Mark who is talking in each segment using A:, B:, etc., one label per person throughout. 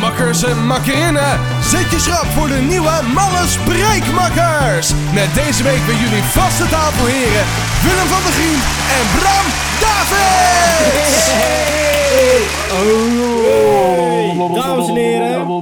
A: cursus Makkerinnen. Zet je schrap voor de nieuwe Malle Spreekmakkers. Met deze week bij jullie vaste tafelheren Willem van der Grien en Bram Davids.
B: Dames en heren,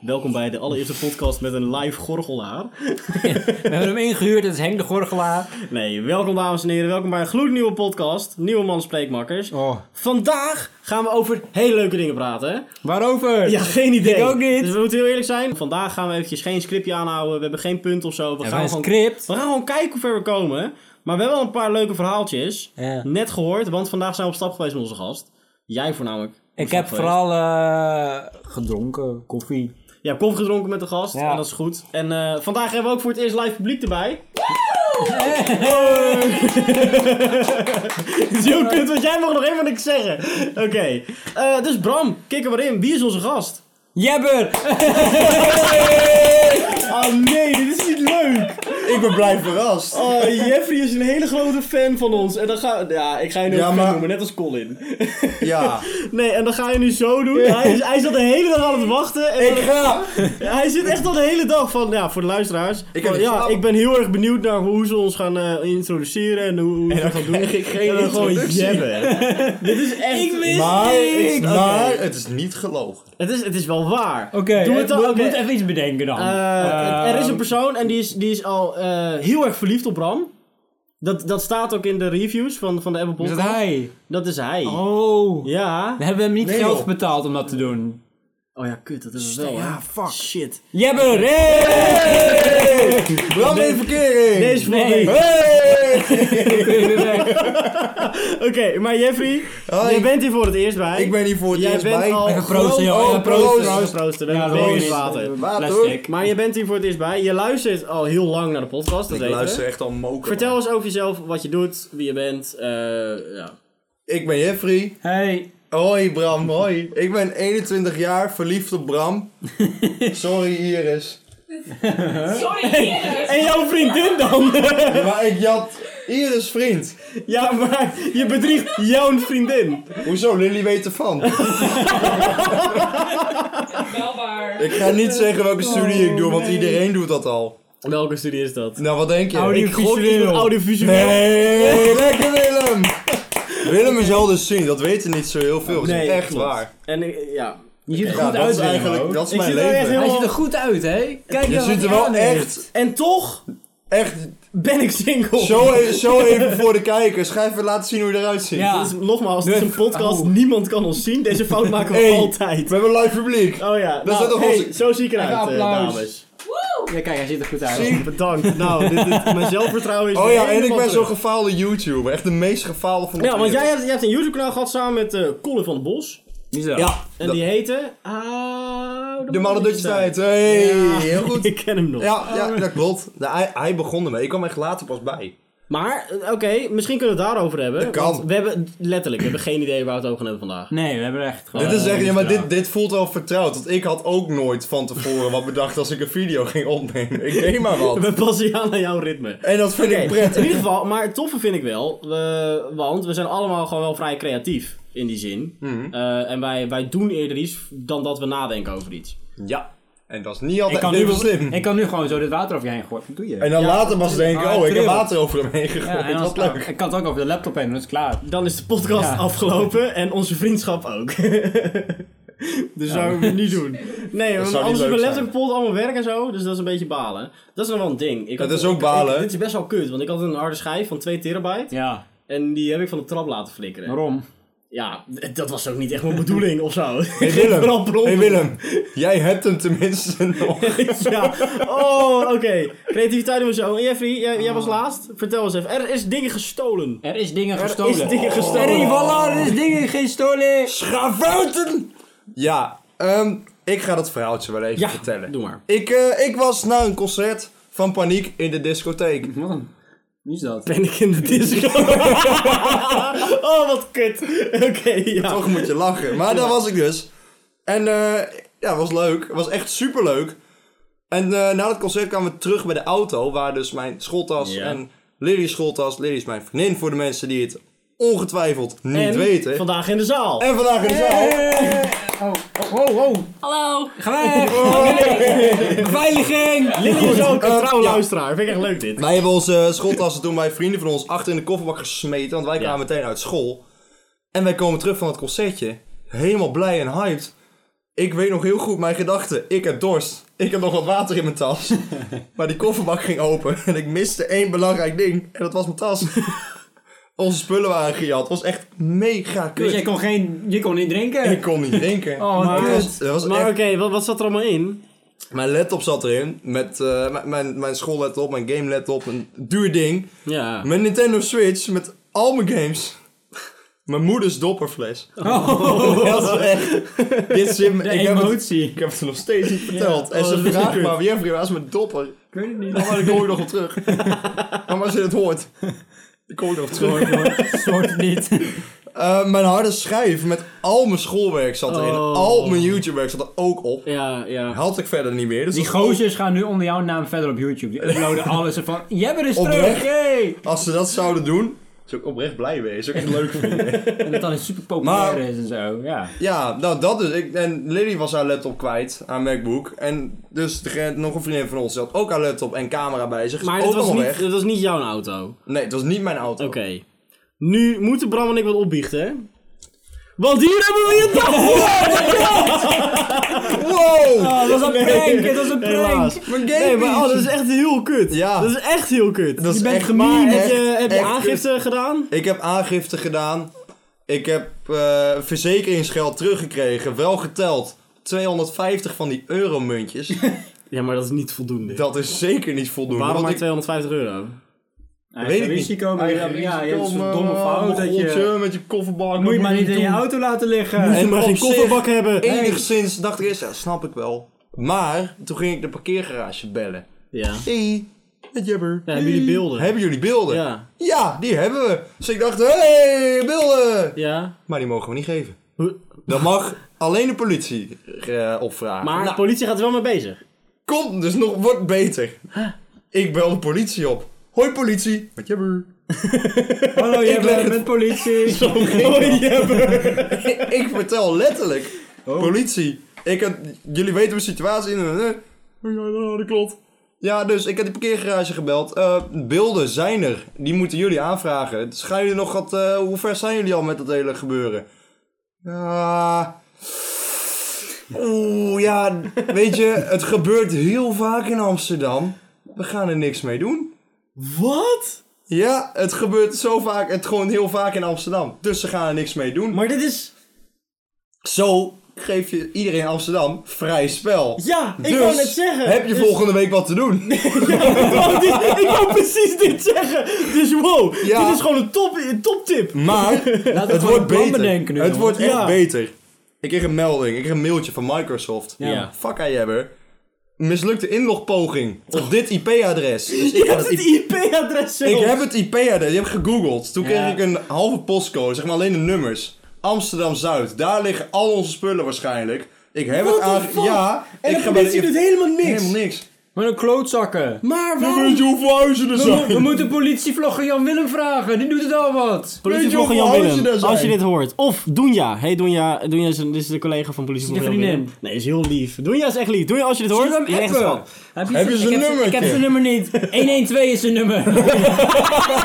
B: welkom bij de allereerste podcast met een live gorgelaar.
C: We hebben hem ingehuurd, het is Henk de Gorgelaar.
B: Nee, welkom dames en heren, welkom bij een gloednieuwe podcast, Nieuwe Man Spreekmakkers.
C: Oh.
B: Vandaag gaan we over hele leuke dingen praten.
C: Waarover?
B: Ja, geen idee.
C: Ik ook niet.
B: Dus we moeten heel eerlijk zijn, vandaag gaan we eventjes geen scriptje aanhouden, we hebben geen punt of zo. We,
C: we
B: gaan,
C: hebben
B: gewoon,
C: een script.
B: we gaan gewoon kijken hoe ver we komen. Maar we hebben al een paar leuke verhaaltjes,
C: Ja.
B: net gehoord, want vandaag zijn we op stap geweest met onze gast. Jij voornamelijk. op
C: Ik
B: stap
C: heb
B: geweest.
C: vooral eh, gedronken, koffie.
B: Je hebt koffie gedronken met de gast
C: Ja.
B: en dat is goed. En eh, vandaag hebben we ook voor het eerst live publiek erbij. Het is heel kut, want jij mag nog helemaal niks zeggen. Oké, Eh, dus Bram, kik er maar in. Wie is onze gast?
C: Jebber!
B: Oh nee, dit is niet leuk.
D: Ik ben blij verrast.
B: Oh, Jeffrey is een hele grote fan van ons. En dan ga Ja, ik ga je nu
D: Ja,
B: ook fan
D: maar-
B: noemen, net als Colin.
D: Ja.
B: nee, en dan ga je nu zo doen. Hij, is, hij zat de hele dag aan het wachten. En dan-
D: ga.
B: Ja, hij zit echt al de hele dag van, ja, voor de luisteraars.
D: heb
B: Van,
D: niet
B: ja,
D: geslapen.
B: ik ben heel erg benieuwd naar hoe ze ons gaan eh, introduceren en hoe, hoe ze gaan doen.
C: krijg ik geen
B: en dan gewoon
C: introductie.
B: jabben. Dit is echt...
C: Ik wist
D: Maar,
C: niks! Oké,
D: maar het is niet gelogen.
B: Het is, het is wel waar.
C: Oké,
B: Doe het dan.
C: moet,
B: oké.
C: moet even iets bedenken dan.
B: Eh, er is een
C: Ehm,
B: persoon en die is, die is al eh, heel erg verliefd op Bram. Dat, dat staat ook in de reviews van, van de Apple
C: Is
B: Podcast.
C: dat hij?
B: Dat is hij.
C: Oh.
B: Ja.
C: We hebben hem niet
D: Nee,
C: geld
D: joh.
C: betaald om dat te doen.
B: Oh ja, kut, dat is het wel.
C: Ja,
D: nou,
B: hè.
C: fuck.
B: Shit.
C: Jebber! Hey!
D: Bram in verkering.
B: Deze voor
C: Nee.
B: mij.
D: Hey.
C: Ik ben weer weg.
B: Oké, maar Jeffrey,
D: Hoi.
B: jij bent hier voor het eerst bij.
D: Ik ben hier voor het
B: Jij
D: eerst
B: bent
D: bij.
B: al
C: Even proosten, joh.
D: Oh,
C: Even
D: proosten.
C: proosten.
B: Proost, proosten. We
C: Ja,
B: hebben
C: dat
B: baby's
C: is-
B: water.
D: Water.
C: Plastic.
B: Maar je bent hier voor het eerst bij. Je luistert al heel lang naar de podcast, dat
D: Ik
B: weten we.
D: luister echt al moker.
B: Vertel eens over jezelf, wat je doet, wie je bent. eh, ja.
D: Ik ben Jeffrey.
C: Hey.
D: Hoi Bram, hoi. Ik ben 21 jaar, verliefd op Bram. Sorry Iris.
E: Sorry, Iris.
B: En jouw vriendin dan?
D: Maar ik jat Iris vriend.
B: ja, maar je bedriegt jouw vriendin.
D: Hoezo? Lily weet ervan.
E: Wel waar.
D: Ik ga niet zeggen welke studie ik
B: Oh,
D: doe, want iedereen doet dat al.
B: Welke studie is dat?
D: Nou, wat denk je?
C: Audio-
D: Ik-
C: Visueel.
B: audiovisueel.
D: Nee, lekker Willem! Willem is helder zien, dat weten niet zo heel veel. Dat is
B: Nee,
D: echt
B: klopt.
D: waar.
B: En eh, ja.
C: Je ziet er
D: Ja,
C: goed
D: dat
C: uit,
D: is
C: Willem,
D: eigenlijk,
C: hoor.
D: dat is
B: Ik
D: mijn
B: zit er echt
D: leven.
B: heel-
C: Hij ziet er goed uit, hè? Kijk
D: Je
C: nou wat
D: ziet er
C: hij
D: wel
C: aan heeft.
D: echt,
B: En toch
D: echt,
B: ben ik single.
D: zo, e- zo even voor de kijkers. Ga even laten zien hoe je eruit ziet.
C: Ja.
B: Dus nogmaals, dit is een podcast,
C: Oh.
B: niemand kan ons zien. Deze fout maken we
D: Hey. We
B: altijd.
D: hebben live publiek.
B: Oh ja,
D: is
B: nou,
D: toch
B: hey,
D: onze-
B: zo zie ik eruit, eh,
C: applaus.
B: dames.
E: Woe!
C: Ja, kijk, hij ziet er goed uit.
D: Zie.
B: Bedankt. Nou, dit, dit- mijn zelfvertrouwen is
D: Oh ja, en ik
B: helemaal
D: ben zo'n
B: terug.
D: gefaalde YouTuber. Echt de meest gefaalde van de
B: Ja, want
D: wereld.
B: jij hebt, jij hebt een YouTube-kanaal gehad samen met eh, Colin van den Bos.
C: Niet zo.
D: Ja,
B: En
D: dat-
B: die heette... Ah,
D: de mannen Dutjes tijd. Hey, heel goed.
B: Ik ken hem nog.
D: Ja, ja, dat klopt. Nou, hij, hij begon ermee. Ik kwam echt later pas bij.
B: Maar, eh, oké, misschien kunnen we het daarover hebben.
D: Dat kan.
B: want we hebben, letterlijk, we hebben geen idee waar we het over gaan hebben vandaag.
C: Nee, we hebben er echt gewoon...
D: Dit is echt, ja, maar
C: verhaal.
D: dit, dit voelt wel vertrouwd. Want ik had ook nooit van tevoren wat bedacht als ik een video ging opnemen. Ik deed maar wat.
B: We passen je aan aan jouw ritme.
D: En dat vind ik
B: Oké, in
D: prettig.
B: ieder geval, maar het toffe vind ik wel, eh, want we zijn allemaal gewoon wel vrij creatief in die zin.
D: Mhm.
B: Eh, en wij, wij doen eerder iets dan dat we nadenken over iets.
D: Ja. En dat is niet
C: Ik
D: altijd
C: kan,
D: heel
C: nu,
D: slim.
C: ik kan nu gewoon zo dit water over je heen gooien. Wat doe je?
D: en dan
B: Ja,
D: later was denken,
C: ah,
D: oh, ik heb
C: trill.
D: water over hem heen
C: Ja,
D: gegooid.
C: en dan-
D: dat was leuk.
C: Ik kan het ook over de laptop heen, dan is het klaar.
B: Dan is de podcast
C: Ja.
B: afgelopen en onze vriendschap ook. dus zouden we het niet doen. Nee, want
D: zou
B: anders
D: niet
B: is
D: leuk
B: mijn
D: zijn.
B: laptop kapot, allemaal werk en zo. Dus dat is een beetje balen. Dat is nog wel een ding. Ik
D: Dat
B: had-
D: is ook
B: ik-
D: balen.
B: ik- dit is best wel kut, want ik had een harde schijf van 2 terabyte.
C: Ja,
B: En die heb ik van de trap laten flikkeren.
C: waarom?
B: Ja, d- dat was ook niet echt mijn bedoeling of zo.
D: Hey Willem, hey Willem, jij hebt hem tenminste nog.
B: ja. Oh, oké. Creativiteit doen we zo. En Jeffrey, jij, jij was laatst. Vertel eens even. Er is dingen gestolen.
C: Er is dingen gestolen.
B: is dingen gestolen. Oh.
C: Er is, voilà, er is dingen gestolen.
D: Schavouten! Ja, ehm, ik ga dat verhaaltje wel even
B: Ja,
D: vertellen.
B: doe maar.
D: Ik, eh, ik was naar een concert van Paniek in de discotheek.
B: Mhm.
C: Wat een- Wie is dat?
B: Ben ik in de disco? oh, wat kut. Oké, ja.
D: Toch moet je lachen. Maar daar was ik dus. En eh ja, was leuk. Was echt superleuk. En eh, na het concert kwamen we terug bij de auto, waar dus mijn schooltas
B: Ja.
D: en Lily's schooltas. Lily is mijn vriendin voor de mensen die het ongetwijfeld niet
B: En
D: weten.
B: vandaag in de zaal.
D: En vandaag in de zaal.
C: Oh, oh, oh, oh.
E: Hallo.
C: Ga weg! Beveiliging!
B: Lily is ook een
D: Eh,
B: trouwe
D: ja.
B: luisteraar. Vind ik echt leuk dit.
D: Wij hebben onze schooltassen toen bij vrienden van ons achter in de kofferbak gesmeten. Want wij kwamen meteen uit school. En wij komen terug van het concertje. Helemaal blij en hyped. Ik weet nog heel goed mijn gedachten. Ik heb dorst. Ik heb nog wat water in mijn tas. maar die kofferbak ging open. En ik miste één belangrijk ding. En dat was mijn tas. Onze spullen waren gejat. Het was echt mega
C: Dus jij
D: kut.
C: kon geen... Je kon niet drinken?
D: Ik kon niet drinken.
C: Oh, wat
D: Het
C: kut.
D: was, het was
B: Maar
D: echt
B: oké, wat, wat zat er allemaal in?
D: Mijn laptop zat erin. Met eh, mijn- mijn, mijn schoollaptop, mijn game laptop. Een duur ding.
B: Ja.
D: Mijn Nintendo Switch met al mijn games. Mijn moeders dopperfles. Oh. Dat is echt... Dit zit me-
C: De
D: ik, heb het,
C: emotie.
D: ik heb het er nog steeds niet verteld. en
B: oh, dat
D: ze
B: is
D: vragen
B: kut.
D: maar, wie heeft was mijn dopper?
C: Ik weet het niet.
D: Maar ik kom ik nog wel terug. maar als je het hoort, ik kom ik nog terug.
C: Soort het niet.
D: Eh, mijn harde schijf met al mijn schoolwerk zat erin.
B: Oh.
D: Al mijn YouTube-werk zat er ook op.
B: Ja, ja.
D: Had ik verder niet meer. Dus
C: Die
D: dat was ook-
C: gozers gaan nu onder jouw naam verder op YouTube. Die uploaden alles ervan. Jij bent eens terug!
D: Oprecht.
C: Hey.
D: Als ze dat zouden doen, zou ik oprecht blij mee. Zou ik het leuk vinden.
C: En dat dan eens super
D: Maar-
C: populair is en zo. Ja.
D: ja, nou dat dus. Ik, en Lily was haar laptop kwijt, haar MacBook. En dus degene- nog een vriendin van ons die had ook haar laptop en camera bij zich. Is
B: Maar
D: ook
B: het was,
D: allemaal
B: niet,
D: weg.
B: het was niet jouw auto.
D: Nee, het was niet mijn auto.
B: Oké. Nu moeten Bram en ik wat opbiechten, hè? Want hier hebben we je dag! Oh
D: Wow!
C: Oh,
B: Ah,
C: dat was een prank! Dat was een prank!
B: Helaas.
D: Mijn
B: Nee, maar oh,
D: gaming.
B: dat is echt heel kut.
D: Ja.
B: Dat is echt heel kut.
D: Dat
B: je
D: is
B: bent
D: echt
B: gemeen.
D: maar
B: Heb je,
D: echt-
B: heb je
D: echt
B: aangifte gedaan?
D: Ik heb aangifte gedaan. Ik heb eh, verzekeringsgeld teruggekregen. Wel geteld. 250 van die euromuntjes.
B: Ja, maar dat is niet voldoende.
D: dat is zeker niet voldoende.
B: Waarom maar
D: want ik-
B: 250 euro?
D: Weet ik niet.
C: risico, maar ja,
D: Eigen
C: ja, je hebt
D: risico,
C: zo'n
D: maar,
C: domme
D: eh,
C: fout dat je...
D: mogeltje met je kofferbak.
C: Moet je
D: dat
C: maar niet in je
D: doen.
C: auto laten liggen.
D: En
B: Moet je maar
D: op
B: geen
D: zich-
B: kofferbak hebben.
D: Enigszins dacht ik eerst, ja, snap ik wel. Maar toen ging ik de parkeergarage bellen.
B: Ja.
D: hey, met Jabber.
B: ja hebben jullie beelden?
D: Hebben jullie beelden?
B: Ja.
D: Ja, die hebben we. Dus ik dacht, hey, beelden.
B: Ja.
D: Maar die mogen we niet geven.
B: Hoe-
D: Dat mag alleen de politie eh, opvragen.
B: Maar de
D: Nou,
B: politie gaat er wel mee bezig.
D: komt dus nog, wordt beter. Ik bel de politie op. Hoi politie. Met Jabber.
C: Hallo, jij
D: Ik leg
C: bent
D: het-
C: met politie.
D: Oh, ik vertel letterlijk. Politie, ik heb, jullie weten mijn situatie. in. Oh, Ja, dat klopt. Ja, dus ik heb die parkeergarage gebeld. Eh, beelden zijn er. Die moeten jullie aanvragen. Dus gaan jullie nog wat... eh, hoe ver zijn jullie al met dat hele gebeuren? Ja... Oeh, ja, weet je, het gebeurt heel vaak in Amsterdam. We gaan er niks mee doen.
B: Wat?
D: Ja, het gebeurt zo vaak, het gewoon heel vaak in Amsterdam. Dus ze gaan er niks mee doen.
B: Maar dit is...
D: Zo geef je iedereen in Amsterdam vrij spel.
B: Ja, ik
D: Dus
B: wou net zeggen.
D: Heb je
B: Dus-
D: volgende week wat te doen?
B: Ik wou dit- ik wou precies dit zeggen. Dus wow,
D: Ja.
B: dit is gewoon een top, een toptip.
D: Maar
C: Laten
D: het
C: we gewoon
D: wordt
C: een plan
D: beter.
C: bedenken nu.
D: het
C: jongen.
D: wordt echt
B: Ja.
D: beter. Ik kreeg een melding, ik kreeg een mailtje van Microsoft.
B: Ja.
D: Fuck hij hebben. Mislukte inlogpoging op dit IP-adres. Dus ik,
B: Oh. Je
D: had
B: hebt
D: het
B: het
D: IP
B: IP-adres zelf.
D: ik heb het IP-adres, ik heb gegoogeld. Toen
C: Ja.
D: kreeg ik een halve postcode, zeg maar alleen de nummers. Amsterdam-Zuid, daar liggen al onze spullen waarschijnlijk. Ik heb
B: What
D: het
B: the
D: aange...
B: fuck?
D: Ja,
B: En
D: ik
B: de
D: ga bij de
B: politie
D: inf-
B: doet helemaal niks.
D: helemaal niks.
C: Wat een klootzakken.
B: Maar waarom?
D: je hoeveel huizen er
C: We, we moeten politievlogger Jan Willem vragen. Die doet het al wat.
D: Weet je
B: Politievlogger
D: hoeveel
B: Jan
D: ouders er
B: Willem,
D: zijn?
B: als je dit hoort. Of Doenja. Hey Doenja, Doenja is, een- dit is de collega van politievlogger Jan
C: Is die
B: Willem.
C: vriendin?
B: Nee, is heel lief. Doenja is echt lief. Doenja, als je dit hoort,
C: Zullen we
B: je
C: hem
B: bent echt
C: appen?
B: een schat.
D: Heb je
C: ik
D: zijn
C: heb
D: nummer,
C: Ik heb
D: Kim?
C: zijn nummer niet. 112 is zijn nummer.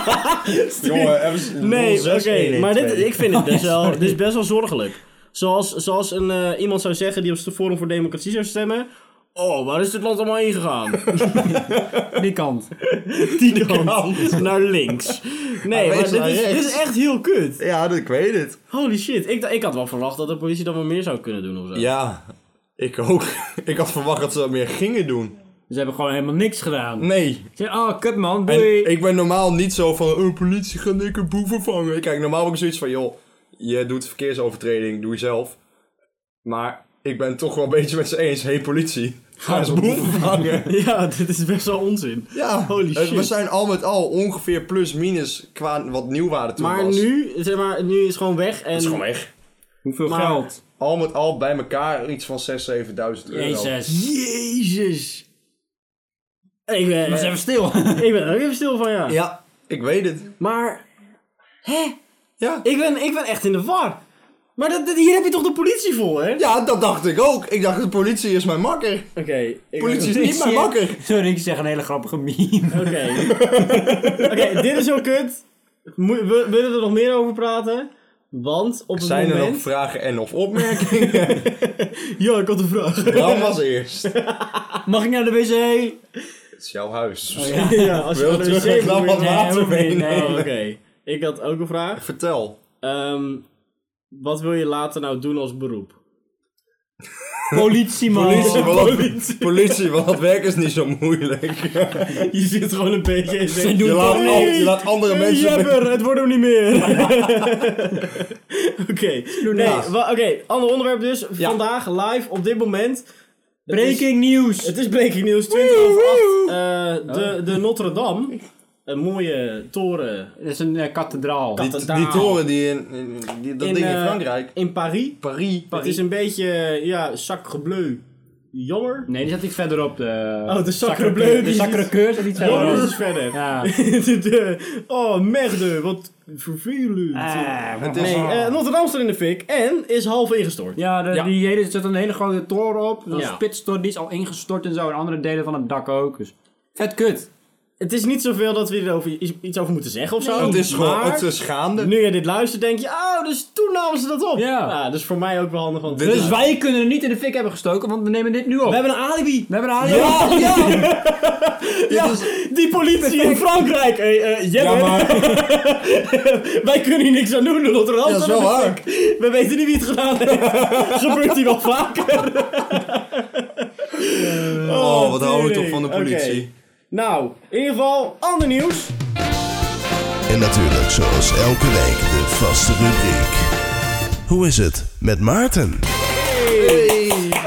D: Jongen, even
B: Nee,
D: 06
B: oké. Maar dit,
D: 112.
B: ik vind het best wel, dit is best wel zorgelijk. Zoals, zoals een, eh, iemand zou zeggen die op de Forum voor Democratie zou stemmen. Oh, waar is dit land allemaal heen gegaan?
C: Die kant.
B: Die kant. Naar links. Nee,
D: wees
B: maar dit
D: naar
B: is, dit
D: rechts.
B: is echt heel kut.
D: Ja, dat, ik weet het.
B: Holy shit. Ik, d- ik had wel verwacht dat de politie dan wel meer zou kunnen doen of zo.
D: Ja, ik ook. Ik had verwacht dat ze wat meer gingen doen.
C: Ze hebben gewoon helemaal niks gedaan.
D: Nee.
C: Ze zeggen, oh, kut man,
D: En
C: doei.
D: ik ben normaal niet zo van, oh, politie, ga ik een boeven vangen. Kijk, normaal heb ik zoiets van, joh, je doet verkeersovertreding, doe je zelf. Maar ik ben toch wel een beetje met ze eens. hey, politie, ga eens boeven vangen.
B: Ja, dit is best wel onzin.
D: Ja,
B: Holy
D: het- we
B: shit.
D: zijn al met al ongeveer plus minus qua wat nieuwwaarde toen
B: Maar
D: was.
B: nu, zeg maar, nu is het gewoon weg. En
D: Het is gewoon weg.
C: Hoeveel
B: maar-
C: geld?
D: Al met al bij elkaar iets van 6.000, 7.000 euro.
C: Jezus.
B: Jezus. Ik ben,
C: Was even stil.
B: ik ben er ook even stil van, ja.
D: Ja, ik weet het.
B: Maar, hè?
D: Ja.
B: Ik ben, ik ben echt in de war. Maar dat, dat- hier heb je toch de politie voor, hè?
D: Ja, dat dacht ik ook. Ik dacht, de politie is mijn makker.
B: Oké. ik-
D: Politie is
C: Ik
D: niet mijn
C: zie-
D: makker.
C: Sorry, ik zeg een hele grappige meme.
B: Oké. Oké, dit is zo kut. Moe- we, willen we er nog meer over praten? Want op het
D: Zijn er nog
B: moment...
D: vragen en of opmerkingen?
B: Ja, ik had een vraag.
D: Dan was eerst. Het
C: Mag ik naar de wc?
D: is jouw huis.
B: ja, als je
D: Wil
B: naar de
D: terug
B: wc
D: een klap
B: moet,
D: wat
B: moet je-
D: water
C: hoeft niet,
D: meenemen?
B: Oh, Oké, ik had ook een vraag.
D: Vertel.
B: Ehm, wat wil je later nou doen als beroep?
C: Politieman.
D: Politie, want, Oh, politie, want dat werk is niet zo moeilijk.
B: Je zit gewoon een beetje in
C: Ze doen
D: Je laat,
C: toch
D: al- je
C: niet?
D: laat andere
B: Hey,
D: mensen...
B: jepper, het wordt hem niet meer. Oké, nee,
D: naast.
B: wa- oké, ander onderwerp dus.
D: Ja.
B: Vandaag live op dit moment.
C: Breaking news.
B: Het is breaking news 20 over 8. eh, de, de Notre Dame. Een mooie toren
C: Het is een eh, kathedraal.
D: Die, die toren die in... in- die- dat
B: In,
D: ding in
B: eh,
D: Frankrijk.
B: in Paris.
D: Paris.
B: Het is een beetje, ja, sacre bleu. Jammer.
C: Nee, die zat iets verderop. De...
B: Oh, de Sacre Bleu,
C: Bleu.
B: die
C: De
B: is-
C: Sacre Keur zat iets
B: Jammer
C: verderop.
B: is verder.
C: Ja.
B: De- de- oh, merde, wat vervelend.
C: Ah,
D: Het
B: Nee,
D: is-
B: eh, Notre Dame staat in de fik en is half ingestort.
C: Ja, de-
D: Ja.
C: die hele, er zit een hele grote toren op. Zo'n
B: Ja.
C: spitstort, die is al ingestort en zo. En andere delen van het dak ook. Dus vet kut.
B: Het is niet zoveel dat we erover iets, iets over moeten zeggen of zo.
D: Het is gewoon...
B: maar
D: Het is gaande.
B: Nu je dit luistert, denk je, oh, dus toen namen ze dat op.
C: Ja.
B: dus voor mij ook wel handig. Want
D: Dit
C: Dus
D: is-
C: wij kunnen er niet in de fik hebben gestoken, want we nemen dit nu op.
B: We
C: We
B: hebben een alibi.
C: hebben een alibi.
D: Ja, ja!
B: Ja, die politie in Frankrijk. Hey, eh, Jelle,
D: Ja, maar...
B: wij kunnen hier niks aan doen. De Rotterdam
D: Ja, dat is
B: staat in
D: wel
B: de
D: waar.
B: fik. We weten niet wie het gedaan heeft. Gebeurt hier wel vaker.
D: Oh, wat houden
B: tering.
D: we toch van de politie.
B: Nou, in ieder geval, ander nieuws.
A: En natuurlijk, zoals elke week, de vaste rubriek. Hoe is het met Maarten?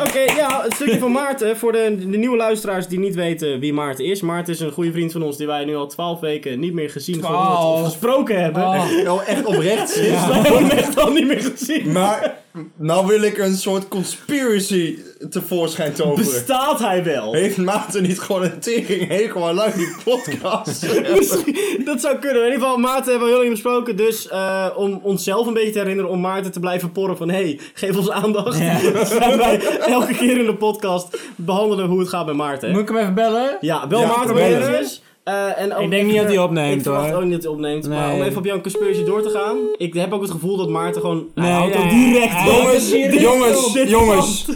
B: Oké, ja, het stukje van Maarten. Voor de, de nieuwe luisteraars die niet weten wie Maarten is. Maarten is een goede vriend van ons die wij nu al twaalf weken niet meer gezien, gehoord of
C: Twaalf.
B: gesproken hebben.
D: Nou, echt oprecht.
B: Dus wij hebben hem echt al niet meer gezien.
D: Maar nou wil ik een soort conspiracy tevoorschijn toveren.
B: Bestaat hij wel?
D: Heeft Maarten niet gewoon een tering hekel aan lui die podcast?
B: Misschien- Dus dat zou kunnen. In ieder geval, Maarten hebben we heel lang besproken. Dus eh, om onszelf een beetje te herinneren, om Maarten te blijven porren van... hey, geef ons aandacht. Zijn wij elke keer in de podcast behandelen hoe het gaat met Maarten.
C: Moet ik hem even bellen?
B: Ja, wel
D: Ja,
B: Maarten
D: proberen.
B: Beertjes. Eh, en ook
C: Ik denk niet dat hij opneemt,
B: Ik verwacht
C: hoor.
B: ook niet dat hij opneemt. Maar
C: Nee.
B: om even op jouw conspiratie door te gaan. Ik heb ook het gevoel dat Maarten gewoon... hij
C: Nee,
B: houdt ook
C: nee.
B: direct
C: Hij-
B: door.
D: jongens,
C: dit is
D: jongens,
B: dit
D: jongens.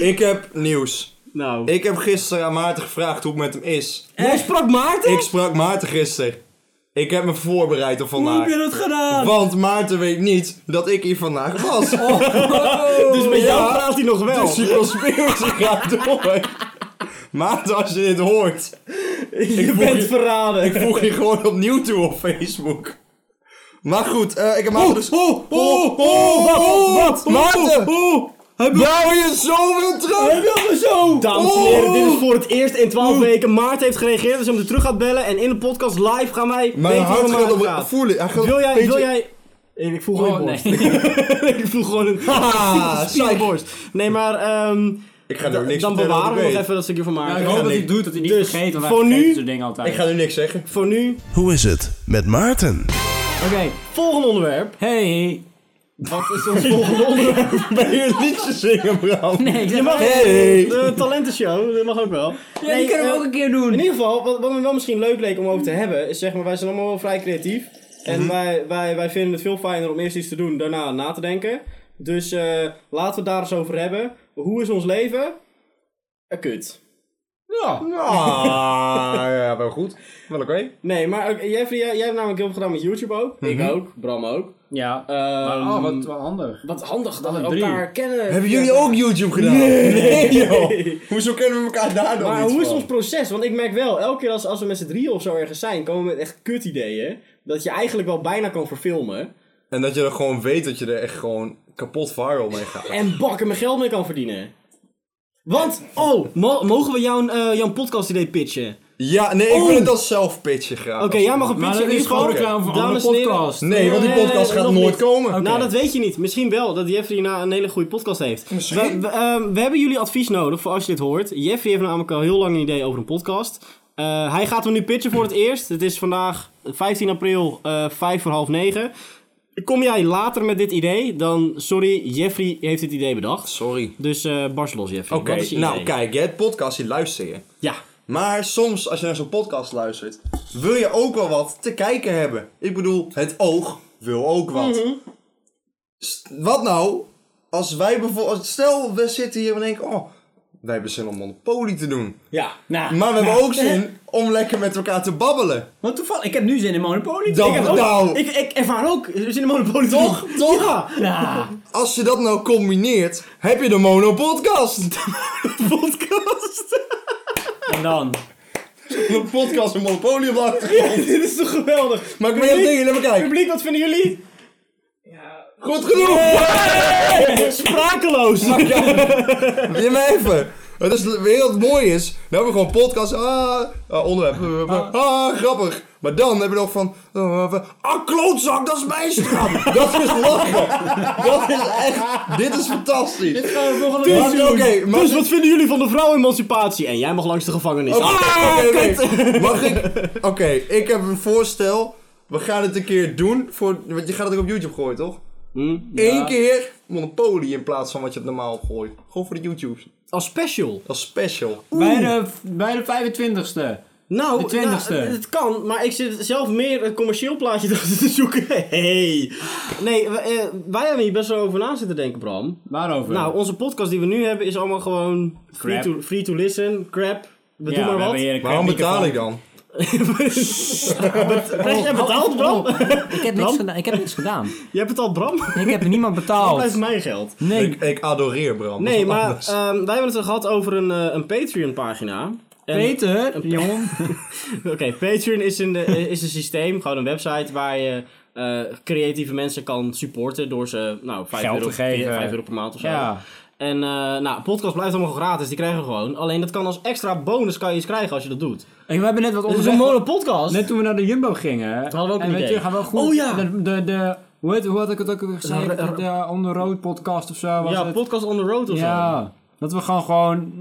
D: Ik heb nieuws.
B: Nou.
D: Ik heb gisteren aan Maarten gevraagd hoe het met hem is.
B: Jij sprak Maarten?
D: Ik sprak Maarten gisteren. Ik heb me voorbereid op vandaag.
C: het gedaan?
D: Want Maarten weet niet dat ik hier vandaag was.
C: Oh,
B: dus met jou
D: ja.
B: praat hij nog wel.
D: Dus die conspiracy gaat door. Maarten, als je dit hoort,
B: je bent verraden.
D: Ik voeg je gewoon opnieuw toe op Facebook. Maar goed, eh, ik heb Maarten dus...
C: oh,
D: oh, oh, oh, Maarten! Jou je zo weer terug!
B: dus-
C: zo!
B: Dames en heren, dit is voor het eerst in 12 weken. Maarten heeft gereageerd, dus hij hem terug gaat bellen. En in de podcast live gaan wij
D: Mijn
B: weten hoe
D: hart
B: het
D: gaat
B: Maarten
D: op...
B: gaat.
D: Voel je, hij gaat
B: Wil jij,
D: een beetje-
B: wil jij... Eh, Ik voel gewoon
C: Oh,
B: je borst.
C: nee.
B: ik voel gewoon een
D: Ah,
B: spieren borst. Nee, maar ehm,
D: Ik ga nu niks
B: dan
D: vertellen,
B: bewaren we
D: ik
B: nog
D: weet.
B: even dat stukje van Maarten.
C: ik hoop dat hij het doet, dat hij niet
B: Dus,
C: vergeet, want hij
B: voor
C: vergeet
B: nu-
C: zo'n ding altijd.
D: Ik ga nu niks zeggen.
B: Voor nu,
A: Hoe is het met Maarten?
C: Oké,
B: volgende onderwerp.
C: hey.
B: Wat is ons volgende onderwerp?
D: Ben je een liedje zingen, Bram?
C: Nee, ik zeg
B: Je mag
D: Hey.
B: de talentenshow, dat mag ook wel. eh,
C: Ja, die kunnen we ook een keer doen.
B: In ieder geval, wat, wat me wel misschien leuk leek om over te hebben, is zeg maar, wij zijn allemaal wel vrij creatief. En
D: Mhm.
B: wij, wij, wij vinden het veel fijner om eerst iets te doen, daarna na te denken. Dus eh, laten we het daar eens over hebben. Hoe is ons leven? Eh, kut.
C: Ja.
D: Ah, ja, wel goed. Wel oké.
B: Nee, maar ook- Jeffrey, jij, jij hebt namelijk heel veel gedaan met YouTube ook.
D: Mhm.
B: Ik ook, Bram ook.
C: Ja.
B: Ehm,
C: oh, wat, wat handig.
B: wat handig dat we
C: Alle drie.
B: elkaar kennen.
D: Hebben jullie ook YouTube gedaan? Nee, joh. Hoezo kennen we elkaar daar dan
B: Maar
D: niet
B: hoe is
D: van?
B: ons proces? Want ik merk wel, elke keer als, als we met z'n drieën of zo ergens zijn, komen we met echt kut ideeën. Dat je eigenlijk wel bijna kan verfilmen.
D: En dat je er gewoon weet dat je er echt gewoon kapot viral mee gaat.
B: En bakken mijn geld mee kan verdienen. Want, oh, mo- mogen we jouw, eh, jouw podcast idee pitchen?
D: Ja, nee, ik
B: Oh.
D: wil het als zelf pitchen graag.
B: Oké, jij mag een
C: Maar
B: pitchen
C: dat
B: in
C: is
B: ieder
C: gewoon
B: geval.
C: reclame voor andere
B: Dames en heren.
C: podcast.
D: Nee, want die
B: Nee,
D: podcast gaat
B: nog
D: nooit
B: niet.
D: komen.
B: Nou, dat weet je niet. Misschien wel dat Jeffrey na een hele goede podcast heeft. We, we, ehm, we hebben jullie advies nodig voor als je dit hoort. Jeffrey heeft namelijk al heel lang een idee over een podcast. Eh, eh, hij gaat hem nu pitchen voor het eerst. Het is vandaag 15 april, eh 5 voor half 9. Kom jij later met dit idee, dan sorry, Jeffrey heeft dit idee bedacht.
D: Sorry.
B: Dus eh barst los, Jeffrey.
D: Oké,
B: Wat is je
D: nou
B: idee?
D: kijk, je hebt podcasts die luister je.
B: Ja.
D: Maar soms, als je naar zo'n podcast luistert, wil je ook wel wat te kijken hebben. Ik bedoel, het oog wil ook wat.
B: Mhm.
D: St- Wat nou, als wij bijvoorbeeld, stel we zitten hier en denken, oh, wij hebben zin om Monopoly te doen.
C: Ja, nou.
D: Maar we hebben
C: nou,
D: ook zin om lekker met elkaar te babbelen.
C: Want toevallig, ik heb nu zin in Monopoly.
D: Dan-
C: ik, heb ook-
D: nou.
C: ik, ik ervaar ook zin in Monopoly. Toch? Toch? Ja. Nou.
D: Als je dat nou combineert, heb je de Monopodcast. podcast.
C: En dan?
D: Een podcast met Monopoly op de achtergrond.
B: Dit is toch geweldig?
D: Maar ik ben heel
B: Publiek-
D: dingen, laat me kijken.
B: Publiek, wat vinden jullie?
E: Ja,
D: Goed genoeg.
B: Sprakeloos!
D: Ja, maar even. Het is weer wat mooi is. Dan hebben we gewoon podcast. Ah, ah, onderwerp. Ah, ah, grappig. Maar dan heb je nog van. ah, van, Ah, klootzak, dat is mijn straf. dat is lachen. Dat is echt. Dit is fantastisch.
B: Dus,
D: Oké, oké, Oh. maar-
B: dus wat vinden jullie van de vrouwenemancipatie? En jij mag langs de gevangenis.
D: Oké,
B: Ah,
D: oké, nee. Mag ik? Oké, ik heb een voorstel. We gaan het een keer doen. Voor, want je gaat het ook op YouTube gooien, toch? Eén keer Monopoly in plaats van wat je op normaal gooit. Gewoon voor de YouTubes.
B: Als special.
D: Dat is special.
C: Bij de, bij de 25ste.
B: Nou,
C: eh, De 20e.
B: nou, het kan, maar ik zit zelf meer een commercieel plaatje te zoeken. Hey. Nee, w- eh, wij hebben hier best wel over na zitten denken, Bram.
C: Waarover?
B: Nou, onze podcast die we nu hebben is allemaal gewoon free
C: Crap.
B: to, free to listen, crap. We doen
C: Ja, we
B: maar
C: hebben
B: wat.
C: hier een
D: Waarom betaal
C: microfoon.
D: ik dan?
B: Krijg jij betaald, Bram?
F: Ik heb, niks gedaan. ik heb niks gedaan.
B: Jij betaalt Bram?
F: Ik heb niemand
B: Dat blijft
F: betaald.
B: mijn geld.
F: Nee.
D: Ik, ik adoreer Bram.
B: Nee,
D: Dat is
B: maar
D: anders.
B: ehm, wij hebben het al gehad over een, eh, een Patreon-pagina. En-
F: Peter, jongen.
B: Oké, Patreon is een, eh, is een systeem, gewoon een website waar je eh, creatieve mensen kan supporten door ze nou, 5
C: Geld te
B: euro,
C: geven.
B: 5 euro per maand of zo.
C: Ja.
B: En eh, nou, podcast blijft allemaal gratis, die krijgen we gewoon. Alleen dat kan als extra bonus kan je iets krijgen als je dat doet.
C: Hey, We hebben net wat
B: Het is een
C: onderzocht.
B: mooie podcast.
C: Net toen we naar de Jumbo gingen.
B: hadden we ook
C: en
B: een
C: weet
B: idee.
C: je, gaan we goed.
B: Oh ja.
C: De, de, de, hoe, heet, hoe had ik het ook weer gezegd?
B: Ra- ra-
C: De onder rood podcast of zo. Was
B: ja,
C: het?
B: podcast on the road of zo.
C: Ja. Dat we gewoon, gewoon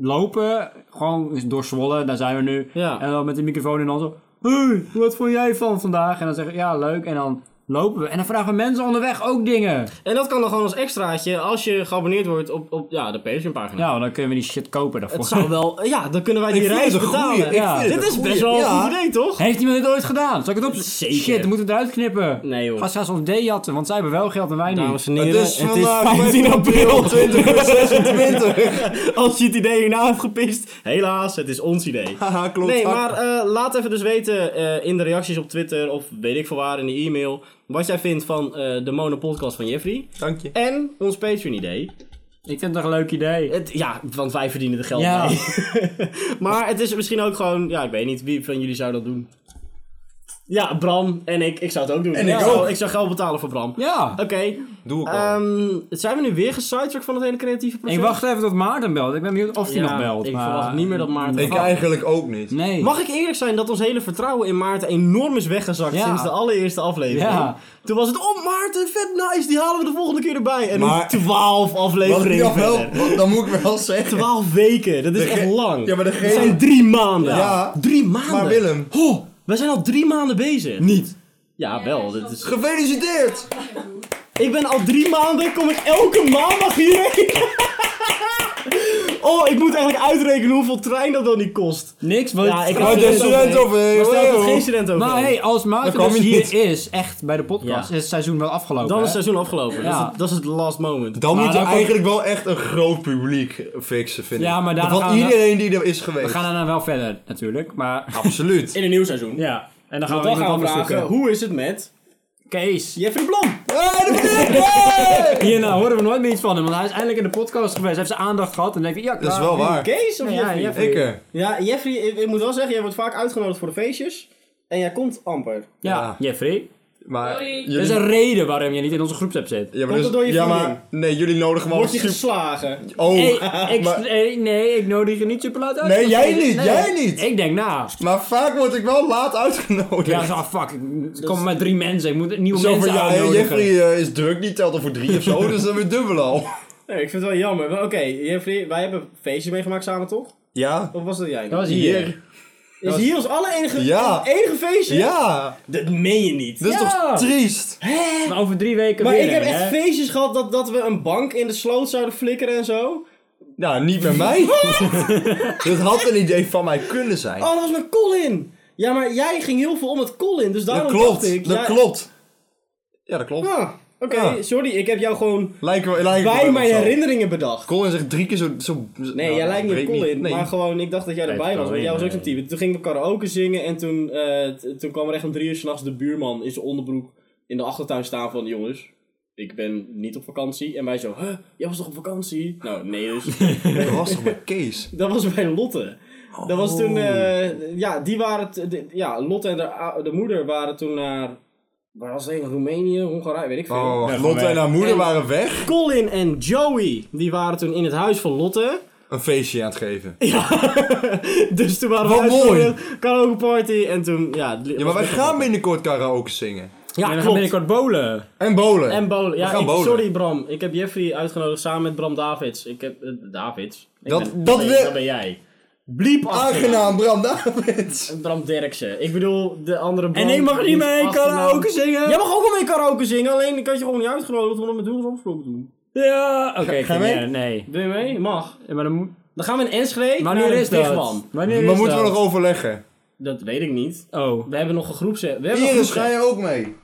C: lopen. Gewoon door Zwolle, daar zijn we nu.
B: Ja.
C: En dan met de microfoon in ons. zo, Hey, wat vond jij van vandaag? En dan zeggen we, ja, leuk. En dan lopen we. En dan vragen we mensen onderweg ook dingen.
B: En dat kan dan gewoon als extraatje als je geabonneerd wordt op, op ja, de Patreon pagina.
C: Ja, want Nou, dan kunnen we die shit kopen daarvoor.
B: Het zou wel, ja, dan kunnen wij die
D: Ik vind
B: reis
D: het een goeie,
B: betalen.
D: ik
B: Ja.
D: vind
B: Dit
D: het een
B: is
D: goeie.
B: best wel
D: Ja.
B: een goed idee, toch?
C: Heeft iemand dit ooit gedaan? Zal ik het op?
B: Zeker.
C: Shit, we moeten het eruit knippen.
B: Nee, joh.
C: Gaan ze ons D-jatten, want zij hebben wel geld en wij niet.
B: Dames en
D: Het
B: heren,
D: is vandaag
B: 15 april.
D: 20 uur 26.
B: Als je het idee hierna hebt gepist, helaas, het is ons idee.
D: Haha, klopt. Ah,
B: Nee, maar eh, laat even dus weten eh, in de reacties op Twitter of weet ik veel waar in de e-mail wat jij vindt van eh, de monopodcast van Jeffrey
D: Dank je.
B: en ons Patreon idee.
C: Ik vind het een leuk idee.
B: Het, ja, want wij verdienen er geld
C: Ja.
B: mee. maar het is misschien ook gewoon, ja, ik weet niet wie van jullie zou dat doen. Ja, Bram en ik, ik zou het ook doen. En
D: ik ook. Oh.
B: Zou, ik zou geld betalen voor Bram.
C: Ja.
B: Oké,
D: Doe ik al.
B: ehm, zijn we nu weer gesidetracked van het hele creatieve proces?
C: Ik wacht even tot Maarten belt. Ik ben benieuwd of hij
B: Ja,
C: nog belt.
B: Ik
C: maar-
B: verwacht niet meer dat Maarten.
D: ik eigenlijk ook niet.
C: Nee.
B: Mag ik eerlijk zijn dat ons hele vertrouwen in Maarten enorm is weggezakt
C: Ja.
B: sinds de allereerste aflevering?
C: Ja.
B: Toen was het, oh Maarten, vet nice, die halen we de volgende keer erbij. En
D: Maar-
B: nu 12
D: Wat ik
B: afleveringen
D: dan wel,
B: verder.
D: wat- dan moet ik wel zeggen.
B: 12 weken, dat is
D: Dege-
B: echt lang.
D: Ja, maar
B: Dat
D: degene-
B: zijn drie maanden.
D: Ja.
B: Drie maanden.
D: Maar Willem.
B: Ho, we zijn al drie maanden bezig. Niet. Ja, wel. Dit is...
D: Gefeliciteerd!
B: Ik ben al drie maanden, kom ik elke maandag hierheen. oh, ik moet eigenlijk uitrekenen hoeveel trein dat dan niet kost.
C: Niks, want...
B: Ja, ik-
D: Oh,
B: Uit
D: de
B: de
D: student
B: student
D: of eh,
B: Maar stel dat
D: joh.
B: geen student over
C: Maar
B: is.
C: hey, als Maarten
D: Dan kom
C: dus
D: je
C: hier
D: niet.
C: is, echt, bij de podcast,
B: Ja.
C: is het seizoen wel afgelopen.
B: Dan is het
C: hè?
B: seizoen afgelopen.
C: Ja.
B: Dat, is het, dat is het last moment.
D: Dan
C: Maar
D: moet je
C: dan komt-
D: eigenlijk wel echt een groot publiek fixen, vind ik.
C: Ja, maar daarna
D: Van
C: gaan we-
D: iedereen die er is
C: We
D: geweest.
C: gaan daarna wel verder, natuurlijk. Maar...
D: Absoluut.
B: in een nieuw seizoen.
C: Ja. En
B: Want
C: dan gaan we
B: dan
C: iemand
B: gaan we
C: anders
B: vragen,
C: zoeken.
B: hoe is het met
C: Kees.
B: Jeffrey Blom?
C: Hierna nou, horen we nooit meer iets van hem, want hij is eindelijk in de podcast geweest. Hij heeft zijn aandacht gehad en dan denk ik, ja,
D: Dat is
C: klaar.
D: wel waar.
B: Kees of
C: Ja,
B: Jeffrey?
C: Jeffrey.
D: Ik eh, er.
B: Ja, Jeffrey, ik, ik moet wel zeggen, jij wordt vaak uitgenodigd voor de feestjes. En jij komt amper.
C: Ja,
D: Ja.
C: Jeffrey.
D: Maar
E: Sorry.
C: Er is
D: jullie...
C: een reden waarom je niet in onze groepsapp zit.
D: Ja, maar,
B: Komt
D: dus-
B: dat door je
D: ja,
B: vriendin?
D: maar nee, jullie nodigen me
B: Word je
D: altijd super...
B: geslagen?
D: Oh,
C: Hey, ik,
D: maar-
C: hey, nee, ik nodig je niet super laat uit.
D: Nee, jij
C: Nee,
D: niet,
C: nee.
D: jij niet.
C: Ik denk, nou...
D: maar vaak word ik wel laat uitgenodigd.
C: Ja, zo, ah, fuck. Ik kom met drie mensen. Ik moet nieuwe
D: Zo van,
C: mensen
D: ja, hey,
C: uitnodigen.
D: Jeffrey eh, is druk, die telt al voor drie of zo, dus dan weer dubbel al.
B: Nee, ik vind het wel jammer. Maar Oké, Jeffrey, wij hebben feestjes meegemaakt samen, toch?
D: Ja,
B: Of was dat jij?
C: Dat was hier.
D: hier.
B: Is hier ons allerenige
D: Ja.
B: enige feestje?
D: Ja,
B: Dat meen je niet.
D: dit is
C: Ja.
D: toch triest?
C: Maar over drie weken
B: Maar
C: weer.
B: ik heb
C: een,
B: echt
C: hè?
B: feestjes gehad dat, dat we een bank in de sloot zouden flikkeren en zo.
D: Nou, niet met mij. dit had een idee van mij kunnen zijn.
B: Oh, dat was met Colin! Ja, maar jij ging heel veel om met Colin, dus daarom
D: dat
B: dacht ik...
D: klopt, dat
B: ja-
D: klopt. Ja, dat klopt.
B: Ah, Oké,
D: Ja.
B: sorry, ik heb jou gewoon
D: Lijken we, lijken we
B: bij
D: wel
B: mijn
D: zo.
B: herinneringen bedacht.
D: Colin zegt drie keer zo... zo Nou,
B: Nee, jij lijkt niet op Colin, maar gewoon, ik dacht dat jij
F: Nee,
B: erbij was, want
F: Colin,
B: jij was ook zo'n
F: nee.
B: type. Toen gingen we karaoke zingen en toen, eh, t- toen kwam er echt om drie uur s'nachts de buurman in zijn onderbroek in de achtertuin staan van, jongens, ik ben niet op vakantie. En wij zo, huh, jij was toch op vakantie? Nou, nee dus.
D: Dat was toch bij Kees?
B: Dat was bij Lotte. Dat was
D: Oh.
B: toen, eh, ja, die waren, t- de- ja, Lotte en de, ou- de moeder waren toen naar, waar was het heen? Roemenië, Hongarije, weet ik veel.
D: Oh,
C: Ja,
D: Lotte
C: gewoon
D: en haar moeder
B: En-
D: waren weg.
B: Colin en Joey, die waren toen in het huis van Lotte.
D: Een feestje aan het geven.
B: Dus toen waren we
D: Wat
B: thuis voor
D: mooi.
B: een karaoke party en toen, ja.
D: Ja, maar wij gaan binnenkort karaoke zingen.
B: Ja,
C: En we gaan
B: klopt.
C: binnenkort bolen.
D: En bowlen.
B: En bowlen. Ja,
D: gaan
B: ik-
D: bowlen.
B: sorry Bram, ik heb Jeffrey uitgenodigd samen met Bram Davids. Ik heb, eh, Davids? Ik
D: Dat-
B: ben-
D: dat
B: nee,
D: we-
B: dat ben jij. Bliep achternaam.
D: Aangenaam, Bram Davids.
B: Bram Derksen. Ik bedoel, de andere Bram.
C: En ik mag niet
B: wiens
C: mee
B: achternaam-
C: karaoke zingen.
B: Jij mag ook wel mee karaoke zingen, alleen ik had je gewoon niet uitgenodigd omdat we met Doelens afgesproken doen.
C: Ja, oké.
D: Ga- ga
C: geen-
D: mee?
C: Nee.
B: Wil je mee? Mag.
C: Ja, maar dan moet...
B: Dan gaan we in Enschede
C: Wanneer
B: naar
C: is
B: de
C: dat?
B: Dichtman.
C: Wanneer
D: Maar
C: is
D: moeten we
C: dat?
D: nog overleggen?
B: Dat weet ik niet.
C: Oh.
B: We hebben nog een groepset. We hebben een
D: Iris, ga
B: groepset.
D: je ook mee?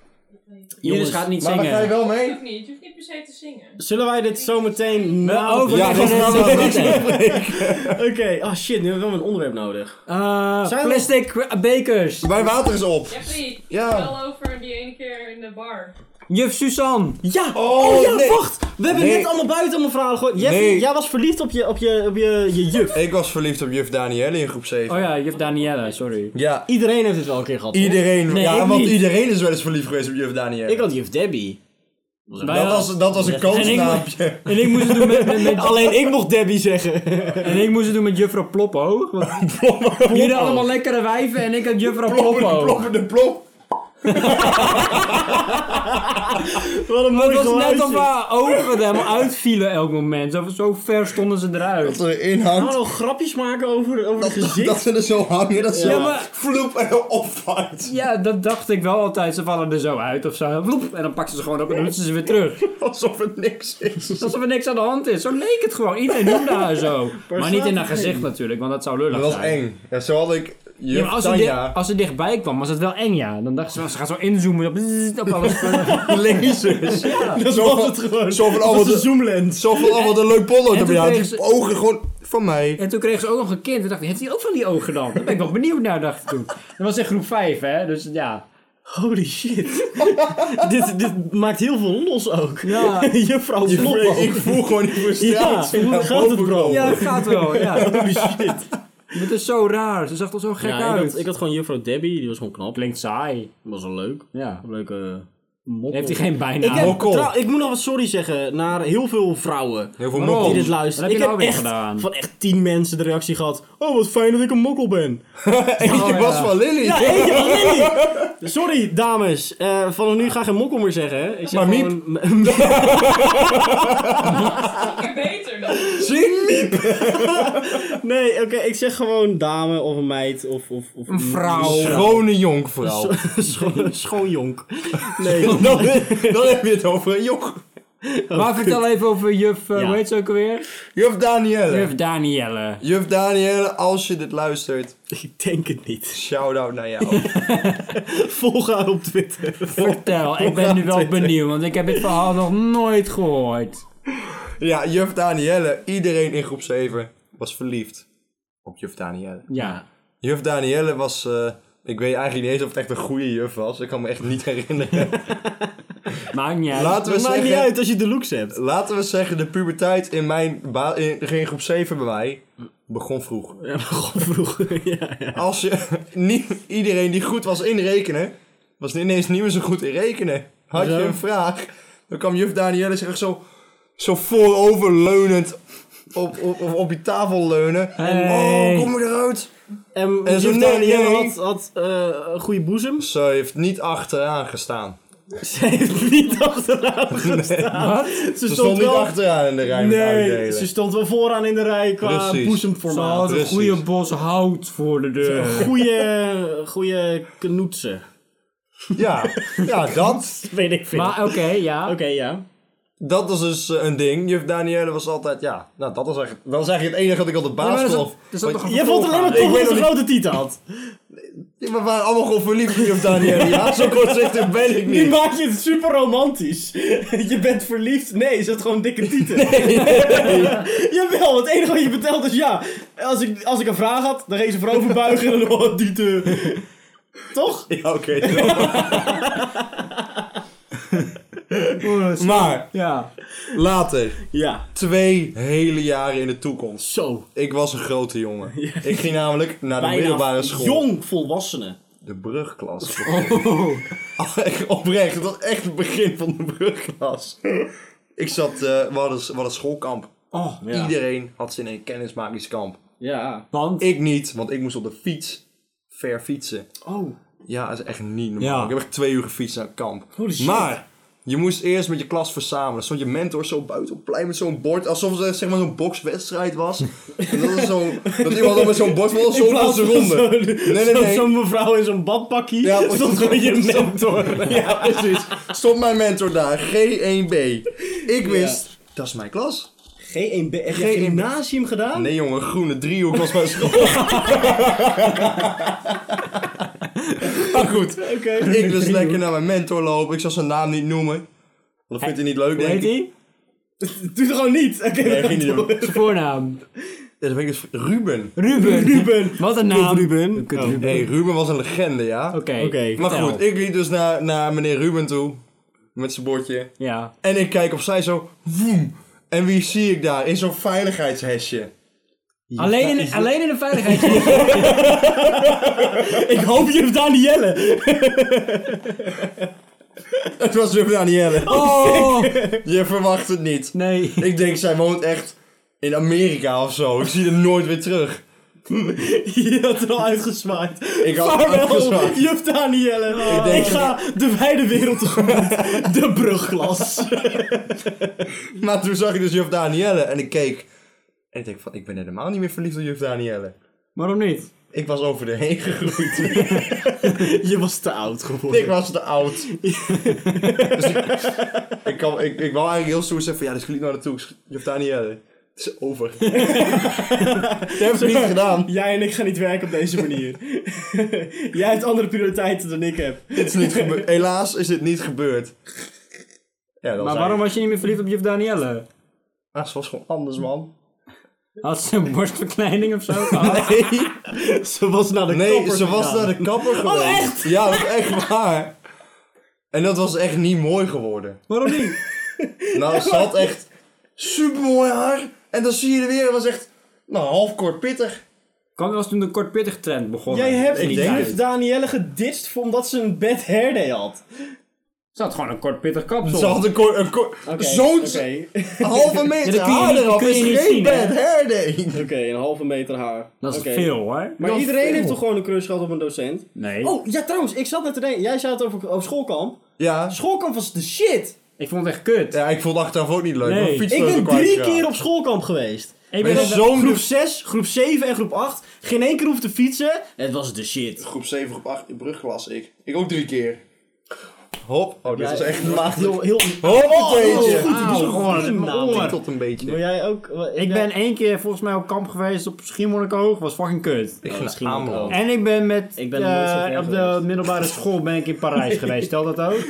F: Iris gaat niet
D: Maar ga je
F: zingen.
D: wel
E: Je
D: mee?
E: hoeft niet, je hoeft niet per se te zingen.
B: Zullen wij dit zometeen na...
C: over- Eh,
D: Ja,
C: Ja,
D: dat
C: dat
D: gaan
C: is-
D: we
F: Nee.
B: Oké, oh shit, nu hebben we wel een onderwerp nodig.
C: Eh,
B: Zijn we-
C: plastic eh, bekers.
D: Mijn water is op.
E: Jeffrey,
D: Ja.
E: wel over die ene keer in de bar.
C: Juf Suzanne.
B: Ja!
D: Oh, nee.
B: We hebben
D: Nee.
B: net allemaal buiten allemaal verhalen gehoord. Jeffy,
D: Nee.
B: jij was verliefd op je, op je, op je, je juf.
D: Ik was verliefd op juf Danielle in groep 7.
C: Oh ja, juf Danielle, sorry.
D: Ja,
B: Iedereen heeft het wel een keer gehad. hoor.
D: iedereen.
C: Nee,
D: ja,
C: ik
D: want
C: niet.
D: iedereen is wel eens verliefd geweest op juf Danielle.
B: Ik had juf Debbie.
C: Wij-
D: dat, was, dat was een koosnaampje.
C: En ik moest het doen met, met, met-
B: Alleen ik mocht Debbie zeggen.
C: en ik moest het doen met juffrouw Ploppo. Want jullie allemaal lekkere wijven en ik had juffrouw Ploppo.
D: Ploppende plop.
B: Wat een
C: Het
B: mooi
C: was net
B: geluidje.
C: of haar ogen er helemaal uitvielen elk moment. Zo, zo ver stonden ze eruit.
D: Dat ze erin
C: Oh,
D: hangt.
B: Hallo, grapjes maken over, over het gezicht.
D: Dat ze er zo hangen. Dat ze
C: Ja,
D: ja,
C: maar-
D: vloep en opvangt.
C: Ja, dat dacht ik wel altijd. Ze vallen er zo uit of zo. Vloep, en dan pakken ze ze gewoon op en doen ze ze weer terug.
D: Alsof het niks is.
C: Alsof er niks aan de hand is. Zo leek het gewoon. Iedereen noemde haar zo. Maar niet in haar gezicht natuurlijk, want dat zou lullig
D: Dat
C: zijn.
D: was eng. Ja, zo had ik juf
C: Ja, maar als, ze di-
D: Tanja
C: als ze dichtbij kwam, was het wel eng, ja. Dan dacht ze, wel, ze gaat zo inzoomen op, op alles.
D: lezers.
B: Dat
D: Zo
B: was
D: van-
B: het gewoon.
D: zo van, oh,
B: dat was
D: wat
B: een
D: een-
B: zoomlens.
D: Zo van, oh wat een leuk pollo.
C: toen
D: erbij. Ja,
C: kreeg
D: die
C: ze-
D: ogen gewoon van mij.
C: en toen kreeg ze ook nog een kind. Toen dacht ik, heeft hij ook van die ogen dan? Daar ben ik wel benieuwd naar, dacht ik toen. Dat was in groep 5, hè. Dus ja.
B: Holy shit. dit, dit maakt heel veel los ook.
C: Ja.
B: Juffrouw
D: Ik,
B: Floppo.
D: ik voel gewoon die frustratie.
B: Ja, hoe
D: naar
B: gaat het,
D: boven
B: bro?
D: komen.
C: Ja, dat gaat wel, ja.
B: Holy shit.
C: Het is zo raar. Ze zag er zo gek
B: Ja, ik,
C: uit.
B: had, ik had gewoon juffrouw Debbie, die was gewoon knap.
C: Klinkt saai.
B: Was wel leuk.
C: Ja.
B: Leuke eh,
C: Heeft hij geen bijnaam?
B: Ik, heb,
D: Mokkel.
B: trouw- ik moet nog wat sorry zeggen naar heel veel vrouwen
D: Heel veel
C: Waarom?
D: mokkel.
B: die dit
C: Wat
B: luisteren.
C: heb
B: Ik
C: je nou
B: heb
C: weer
B: echt
C: gedaan?
B: van echt tien mensen de reactie gehad. Oh, wat fijn dat ik een mokkel ben.
D: Eentje
C: ja.
D: Oh, was van Lily.
B: Ja, eentje van Lily. Sorry, dames. Eh vanaf nu ga ik geen mokkel meer zeggen. hè. Ik zeg
D: Maar miep.
B: gewoon- eh,
E: Een keer beter dan.
D: Zing niet.
B: nee, oké. ik zeg gewoon dame of een meid of... of, of een
C: Vrouw.
D: Oh, Schone jonkvrouw.
B: Schoon, schoonjonk. Nee.
D: Dan, dan heb je het over een jonk.
C: Maar vertel even over juf, eh,
B: Ja.
C: hoe heet ze ook alweer?
D: Juf Danielle. Juf,
C: Juf Danielle.
D: Danielle, als je dit luistert,
B: ik denk het niet.
D: shout-out naar jou.
B: Volg haar op Twitter.
C: Vertel, ik ben nu wel benieuwd, want ik heb dit verhaal nog nooit gehoord.
D: ja, juf Danielle, iedereen in groep 7 was verliefd op juf Danielle.
C: Ja.
D: Juf Danielle was, eh, ik weet eigenlijk niet eens of het echt een goede juf was. Ik kan me echt niet herinneren.
C: Maakt niet uit.
D: Laten we,
B: Het maakt
D: zeggen,
B: niet uit als je de looks hebt.
D: Laten we zeggen, de puberteit in mijn ba- in, in groep 7 bij mij begon vroeg.
B: Ja, gewoon vroeg. ja, ja.
D: Als je niet iedereen die goed was in rekenen, was ineens niet meer zo goed in rekenen. Had je
B: Zo.
D: een vraag, dan kwam juf Danielle zich echt zo, zo vooroverleunend op, op, op, op je tafel leunen.
C: Hey.
D: En, oh, kom er eruit.
B: En
D: En
B: en
D: zo,
B: juf
D: nee,
B: Danielle
D: nee.
B: had, had eh, een goede boezem.
D: Ze heeft niet achteraan gestaan.
B: Ze heeft niet achteraan gestaan.
D: Wat?
B: Ze,
D: Ze
B: stond
D: stond niet
B: wel...
D: achteraan in de rij met
B: Nee,
D: uitdelen.
B: ze stond wel vooraan in de rij qua
D: Precies.
C: Ze
B: boezemformaat.
C: had een
D: Precies.
C: goede bos hout voor de deur.
B: Goeie, goeie knoetsen.
D: Ja, ja dat,
B: Weet ik veel.
C: Maar oké, ja.
B: Oké, ja.
D: dat is dus eh, een ding. Juf Danielle was altijd, ja, nou dat was eigenlijk, dat was eigenlijk het enige dat ik al de
C: Ja,
D: baas
C: maar er zat-
D: trof.
C: er zat
D: Want-
C: toch een
B: Jij vond het alleen maar
D: Ik
B: tof
D: weet
B: dat ze
D: nog
B: grote tieten had.
D: Ja, We waren allemaal gewoon verliefd op juf Danielle. Ja, zo kortzichtig ben ik
B: Nu
D: niet.
B: maak je het super romantisch. Je bent verliefd. Nee, ze had gewoon dikke tieten. Jawel, het enige wat je vertelt is ja. Als ik, als ik een vraag had, dan ging ze voorover buigen en dan oh, tieten. Toch?
D: Ja, oké. maar,
C: Ja.
D: later.
B: Ja.
D: Twee hele jaren in de toekomst.
B: Zo.
D: Ik was een grote jongen. Ik ging namelijk naar de middelbare school.
B: jong volwassenen.
D: De brugklas. Oh, echt Oprecht, dat was echt het begin van de brugklas. Ik zat, eh we, hadden, we hadden schoolkamp.
C: Oh,
B: Ja.
D: Iedereen had zin in een kennismakingskamp.
B: Ja.
C: want...
D: Ik niet, want ik moest op de fiets ver fietsen.
C: Oh.
D: Ja, dat is echt niet normaal.
C: Ja.
D: Ik heb echt twee uur gefietst naar het kamp.
B: Holy shit.
D: Maar je moest eerst met je klas verzamelen. Dan stond je mentor zo buiten op het plein met zo'n bord. Alsof het eh, zeg maar zo'n bokswedstrijd was. en dat, is zo, dat iemand dan met zo'n bord van zo'n onze ronde.
B: Zo'n
D: Nee, nee, nee.
B: zo'n mevrouw in zo'n badpakje.
D: Ja,
B: Ja, stond gewoon je
D: precies.
B: mentor.
D: Ja, precies. Stond mijn mentor daar. G1B. Ik wist, dat is mijn klas.
B: G1B. Heb je gymnasium gedaan?
D: Nee jongen, groene driehoek was mijn school. maar goed,
B: Oké.
D: ik dus lekker naar mijn mentor lopen. Ik zal zijn naam niet noemen. Want dat vindt hij niet leuk,
C: Hoe
D: denk
C: heet
D: ik.
C: die?
B: Doe het gewoon niet. Oké, we
D: Nee,
B: gaan
D: ging niet
B: door.
D: doen.
C: Zijn voornaam.
D: Ja, dat weet ik dus. Ruben.
C: Ruben.
B: Ruben.
C: Wat een naam.
B: Ruben.
C: Kut
B: Oh.
C: Ruben.
D: Nee, Ruben was een legende, ja.
C: Oké.
B: Oké.
D: Maar
C: vertel.
D: goed, ik liep dus naar, naar meneer Ruben toe. Met zijn bordje.
C: Ja.
D: En ik kijk opzij zo. Woem. En wie zie ik daar? In zo'n veiligheidshesje.
C: Alleen in, alleen in de veiligheid.
B: Ik hoop je Danielle.
D: Het was Ruben Danielle.
C: Oh.
D: Je verwacht het niet.
C: Nee.
D: Ik denk, zij woont echt in Amerika of zo. Ik zie haar nooit weer terug.
B: Je had er al uitgezwaaid.
D: Ik had het
B: Vaarwel,
D: afgezwaaid.
B: juf Danielle. Ik,
D: denk-
B: ga de wijde wereld tegemoet. De brugklas.
D: Maar toen zag ik dus juf Danielle en ik keek. En ik denk van, ik ben helemaal niet meer verliefd op juf Danielle.
C: Waarom niet?
D: Ik was over de heen gegroeid.
B: Je was te oud geworden.
D: ik was te oud. dus ik, ik, kan, ik, ik wou eigenlijk heel stoer zeggen van, ja, dus ik liep naar naartoe. Ik sch- Juf Danielle, het is over. Dat heb ik niet gedaan.
B: Jij en ik gaan niet werken op deze manier. Jij hebt andere prioriteiten dan ik heb.
D: Dit is niet gebeurd. Helaas is dit niet gebeurd. Ja, dat
C: Maar
D: was
C: waarom
D: eigenlijk-
C: was je niet meer verliefd op juf Danielle?
D: Ah, ze was gewoon anders, man.
C: Had ze een borstverkleining of zo gehad?
D: Nee.
B: Ze was naar de
D: Nee,
B: kapper
D: ze was
B: gegaan.
D: naar de kapper geweest.
B: echt?
D: Ja, dat is echt waar. En dat was echt niet mooi geworden.
C: Waarom niet?
D: Nou, ze had echt supermooi haar. En dan zie je er weer, het was echt nou, half kort pittig.
C: Kwam was toen de kortpittig trend begonnen.
B: Jij hebt
D: Ik denk
B: juf
D: het.
B: Danielle geditst voor- omdat ze een bad hairday had.
C: Ze had gewoon een kortpittig kapsel.
D: Ze had een kort, een kort
B: Oké,
D: zo'n
B: Oké,
D: halve meter
C: Ja, dat kun je
D: haar
C: niet- dat
D: eraf.
C: kun je
D: is
C: niet
D: geen
C: zien, hè?
D: bad hair day.
B: Oké, een halve meter haar.
C: Dat is
B: Oké.
C: veel hoor.
B: Maar
D: Dat is
B: iedereen
D: veel.
B: heeft toch gewoon een crush gehad op een docent?
C: Nee.
B: Oh, ja trouwens, ik zat net te denken. Jij zei het over, over schoolkamp.
D: Ja.
B: Schoolkamp was de shit.
C: Ik vond het echt kut.
D: ja, ik vond het achteraf ook niet leuk.
C: Nee.
D: Mijn
B: Ik
D: fietssleutel
B: ben
D: kwijt
B: drie
D: geraakt.
B: keer op schoolkamp geweest.
C: Ik
D: ben
C: ben
D: je
C: op
D: zo- Zo'n
B: groep
D: dus-
B: 6, groep 7 en groep 8. Geen één keer hoeven te fietsen. Het was de shit.
D: Groep 7, groep 8 in brugklas ik. Ik ook drie keer. Hop. Oh, dit was echt maagd.
B: Heel, heel...
D: Hop,
B: Oh,
D: een
B: dat is
D: beetje.
B: goed. Het is
C: Auw,
B: een
C: gewoon
B: goede
C: in mijn
B: naam.
C: oor.
D: Tot een beetje.
B: Wil jij ook... wat-
C: Ik
B: jij-
C: ben één keer volgens mij op kamp geweest op Schiermonnikoog. Was fucking kut.
D: Ik
B: Oh,
D: ging
B: misschien
D: naar
B: ook
D: Ameland.
B: wel.
C: En ik ben met...
B: Ik ben
C: eh,
B: nooit zo ver
C: Op de
B: geweest.
C: middelbare school ben ik in Parijs geweest. Stel dat ook?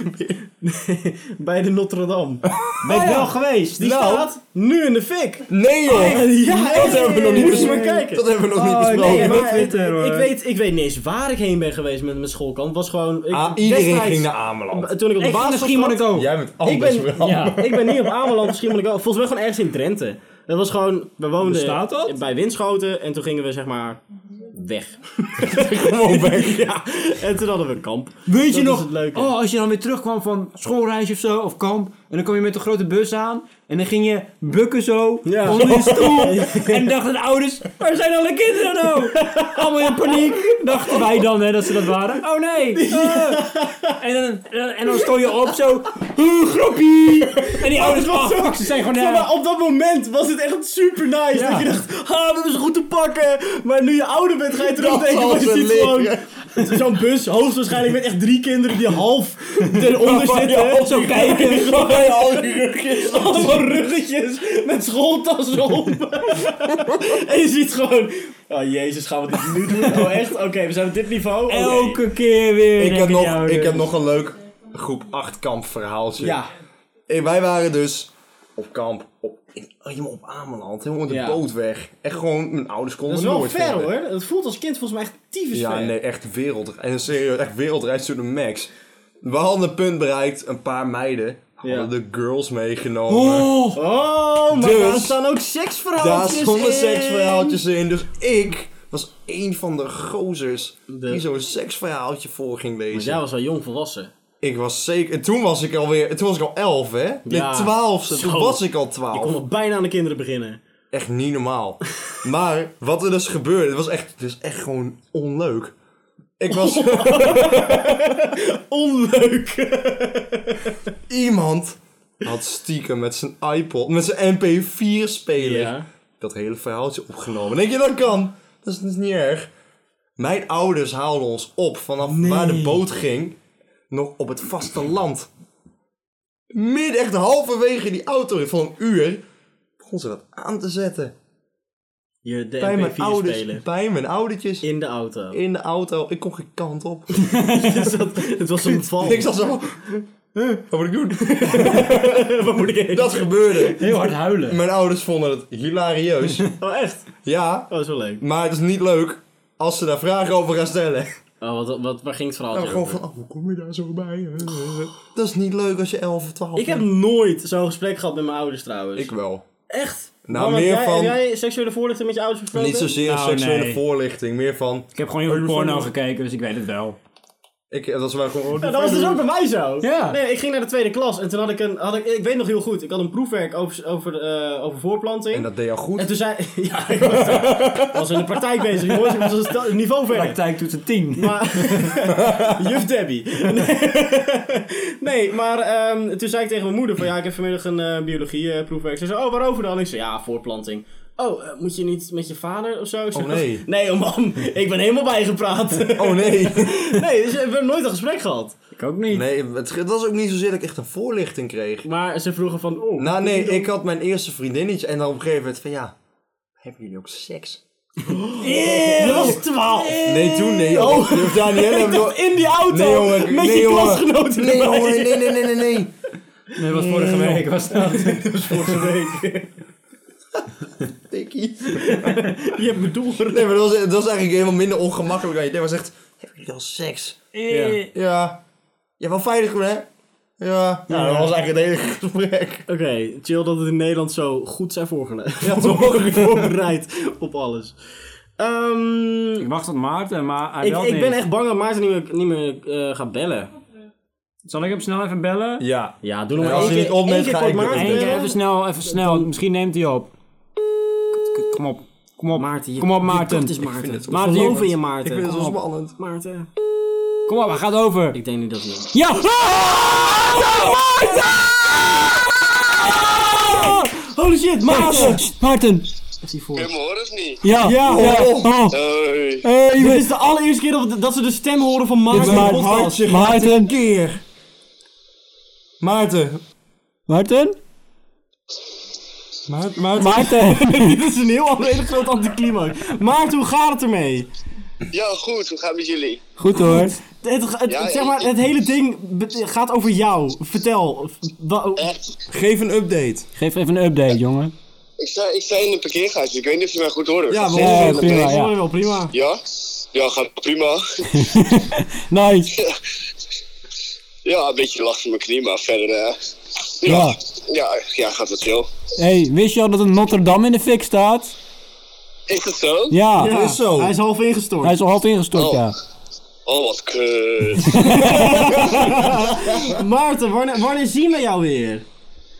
B: Bij de Notre Dame.
D: Oh,
C: Ben ik wel geweest.
B: Die
D: Nou.
B: staat nu in de fik.
D: Nee joh!
B: Oh, Ja,
D: dat hebben we nog niet
B: Moet je maar
D: besproken.
B: kijken.
D: Dat hebben we nog niet
C: Oh, nee,
D: besproken.
C: maar-
B: ik,
C: Twitter, hoor.
B: ik weet, ik weet niet eens waar ik heen ben geweest met mijn schoolkamp. Het was gewoon... Ik,
D: Ah, iedereen
B: destijds-
D: ging naar Ameland.
B: Toen ik op de
C: Ik ging
B: basisschool
C: naar
B: zat-
C: Schiermonnikoog.
D: Jij bent
B: Ik
D: anders,
B: ben,
D: Bram.
B: ja, ik ben niet op Ameland, misschien moet ik wel. Volgens mij gewoon ergens in Drenthe. Dat was gewoon, we woonden
C: Bestaat dat?
B: bij Winschoten en toen gingen we zeg maar weg.
D: Gewoon weg.
B: ja, en toen hadden we een kamp.
C: Weet je
B: Dat is
C: nog,
B: het leuke.
C: oh, als je dan weer terugkwam van schoolreis of zo, of kamp. En dan kwam je met een grote bus aan. En dan ging je bukken zo
B: Ja.
C: onder die stoel. en dachten de ouders, waar zijn alle kinderen nou? Allemaal in paniek. Dachten wij dan hè, dat ze dat waren. Oh nee. eh. En, dan, en dan stond je op zo. "Oeh, Grappie. En die ouders,
B: was
C: oh,
B: zo-
C: fuck, ze zijn gewoon...
B: Zeg
C: eh,
B: maar, op dat moment was het echt super nice.
C: Ja.
B: Dat je dacht, ah, we hebben ze goed te pakken. Maar nu je ouder bent, ga je terugdenken.
D: zal
B: Want je
D: ze
B: ziet gewoon zo'n bus, hoogstwaarschijnlijk met echt drie kinderen die half eronder
C: Waarvan je
B: zitten.
C: op zo kijken.
D: al die rugjes.
B: Allemaal ruggetjes met schooltassen om. en je ziet gewoon, oh jezus, gaan we dit nu doen? Oh echt? Oké, we zijn op dit niveau. Oké.
C: Elke keer weer.
D: Ik dus. heb,
C: denken die
D: nog,
C: ouders.
D: ik heb nog een leuk groep 8 kamp verhaaltje.
B: Ja,
D: Hey, wij waren dus op kamp, op, in, helemaal op Ameland, helemaal met de
B: Ja.
D: boot weg. Echt gewoon, mijn ouders
B: dat
D: konden
B: is
D: me
B: wel
D: nooit
B: ver
D: vinden.
B: hoor. Het voelt als kind volgens mij echt tyfus
D: Ja,
B: ver.
D: nee, echt wereldreis. En serieus, echt wereldreis to the max. We hadden een punt bereikt, een paar meiden hadden de girls meegenomen.
C: Oh,
B: Oh, maar
D: Dus-
B: daar staan ook
D: Daar
B: seksverhaaltjes
D: stonden
B: in.
D: seksverhaaltjes in, dus ik was een van de gozers
B: De-
D: die zo'n seksverhaaltje voor ging
B: Dus
D: lezen.
B: jij was wel jong volwassen.
D: Ik was zeker, en toen was ik alweer, toen was ik al elf hè?
B: Ja.
D: De twaalfste, toen
B: Zo.
D: was ik al
B: Ik
D: twaalf.
B: kon nog bijna aan de kinderen beginnen.
D: Echt niet normaal. maar wat er dus gebeurde, het was echt, het was echt gewoon onleuk. Ik was
B: Onleuk.
D: iemand had stiekem met zijn iPod, met zijn MP4 speler
B: Ja.
D: dat hele verhaaltje opgenomen. Denk je dat kan? Dat is, dat is niet erg. Mijn ouders haalden ons op vanaf waar de boot ging, nog op het vasteland. Midden echt halverwege die auto van een uur begon ze dat aan te zetten.
B: Je de
D: Bij mijn
B: MP4
D: ouders,
B: spelen.
D: bij mijn oudertjes.
B: In de auto.
D: in de auto. Ik kon geen kant op.
B: Dus dat- het was een val.
D: ik zat zo. "Huh, Wat moet ik doen?
B: Wat moet ik heen?
D: Dat gebeurde.
C: heel hard huilen.
D: Mijn ouders vonden het hilarieus.
B: Oh, echt? Oh,
D: Ja,
B: dat is wel leuk.
D: maar het is niet leuk als ze daar vragen over gaan stellen.
B: Oh, wat, wat, waar ging het verhaal
D: Nou,
B: over?
D: gewoon van, oh, hoe kom je daar zo bij? Oh, Dat is niet leuk als je 11 of 12
B: Ik heb
D: bent.
B: nooit zo'n gesprek gehad met mijn ouders trouwens.
D: Ik wel.
B: Echt?
D: Nou,
B: Waarom heb
D: meer
B: jij,
D: van-
B: Heb jij seksuele voorlichting met je ouders besproken?
D: Niet zozeer
C: Nou,
D: seksuele
C: nee.
D: voorlichting, meer van...
C: Ik heb gewoon heel veel porno gekeken, dus ik weet het wel.
D: Ik, dat was wel gewoon...
B: Ja, dat was dus ook bij mij zo.
C: Ja.
B: Nee, ik ging naar de tweede klas en toen had ik een... Had ik, ik weet nog heel goed, ik had een proefwerk over, over, eh, over voorplanting.
D: En dat deed jou goed.
B: En toen zei... Ja, ik was, ik was in de praktijk bezig, jongens. Ik was een sta- niveau verder.
C: Praktijk doet een 10.
B: Maar, juf Debbie. Nee, nee maar ehm, toen zei ik tegen mijn moeder van... Ja, ik heb vanmiddag een eh, biologie eh, proefwerk. Ze zei, oh, waarover dan? Ik zei, ja, voorplanting. Oh, eh, moet je niet met je vader of zo? Ik zei,
D: Oh, nee.
B: Nee, oh man, ik ben helemaal bijgepraat.
D: Oh nee.
B: Nee, dus we hebben nooit een gesprek gehad.
C: Ik ook niet.
D: Nee, het, het was ook niet zozeer dat ik echt een voorlichting kreeg.
B: Maar ze vroegen van... Oh,
D: Nou nee,
B: doe je
D: ik had mijn eerste vriendinnetje en dan op een gegeven moment van ja, hebben jullie ook seks?
B: dan- Je was twaalf.
D: Nee, toen nee. Oh. Dus Danielle hebben we-
B: In die auto.
D: Nee jongen,
B: met
D: nee,
B: je
D: jongen.
B: klasgenoten
D: Nee
B: erbij.
D: jongen, nee nee nee nee nee.
C: Nee, dat was vorige week. Was dat.
D: Tikkie.
B: Je hebt me doelgerust.
D: Nee, maar dat was, dat was eigenlijk helemaal minder ongemakkelijk aan je denkt. Maar zegt, hebben jullie al seks?
C: Ja.
D: Ja. Ja, wel veilig hè? Ja. Ja, dat was eigenlijk het hele gesprek.
B: Oké, chill dat het in Nederland zo goed zijn voorgeleid. Ja, toch? voorbereid op alles. Ehm,
C: Ik wacht tot Maarten, maar hij
B: ik,
C: belt
B: ik ben
C: niet.
B: echt bang dat Maarten niet meer, niet meer eh, gaat bellen.
C: Zal ik hem snel even bellen?
D: Ja.
B: Ja, doe nog
D: En
B: maar
D: als
B: één
D: hij
B: keer-
D: niet opneemt,
B: één keer
D: ga
B: kort
D: ik
B: Maarten
D: erin.
C: Eén keer
B: bellen.
C: even snel, even snel. Misschien neemt hij op. Kom op. Kom op,
B: Maarten, je-
C: Kom op,
B: je
C: Maarten.
B: dochter is Maarten.
D: het
B: Maarten,
C: geloof
B: geloof in je
D: Ik
B: Maarten.
D: vind het
B: Kom
D: wel
B: op.
D: spannend.
B: Maarten.
C: Kom op, hij gaat over.
B: Ik denk niet dat niet.
C: Ja! Ah!
B: Holy shit, Maarten!
C: Maarten!
G: Kun je me horen of niet?
C: Ja! Ja! Oh.
G: Hoi.
C: Hey,
B: Dit is de allereerste keer dat, we- dat ze de stem horen van Maarten. in de
C: Maarten.
B: podcast.
C: Maarten. Maarten. Keer.
D: Maarten.
C: Maarten? Maarten. Maarten.
B: Dit is een heel ander, hele groot anticlimax. Maarten, hoe gaat het ermee?
G: Ja, goed. Hoe gaat het met jullie?
C: Goed hoor.
B: Het, het,
G: Ja,
B: zeg maar,
G: ik-
B: het hele ding be- gaat over jou. Vertel. Wa-
G: Echt?
D: Geef een update.
C: Geef even een update, jongen.
G: Ik sta, ik sta in de parkeergarage, dus ik weet niet of je mij goed hoort.
D: Ja,
G: Gaat
D: we
G: het
D: horen
G: goed?
C: je prima, ja.
B: Hoor je wel prima.
G: Ja? Ja, gaat prima.
C: Nice.
G: Ja, een beetje last van mijn knie, maar verder... eh,
C: Ja.
G: ja, ja, gaat het chill.
C: Hey, wist je al dat een Notre Dame in de fik staat?
G: Is dat zo?
C: Ja.
B: Ja,
D: is zo.
B: Hij is half ingestort.
C: Hij is al half ingestort,
G: Oh.
C: ja.
G: Oh, wat kut.
B: Maarten, wanneer, wanneer zien we jou weer?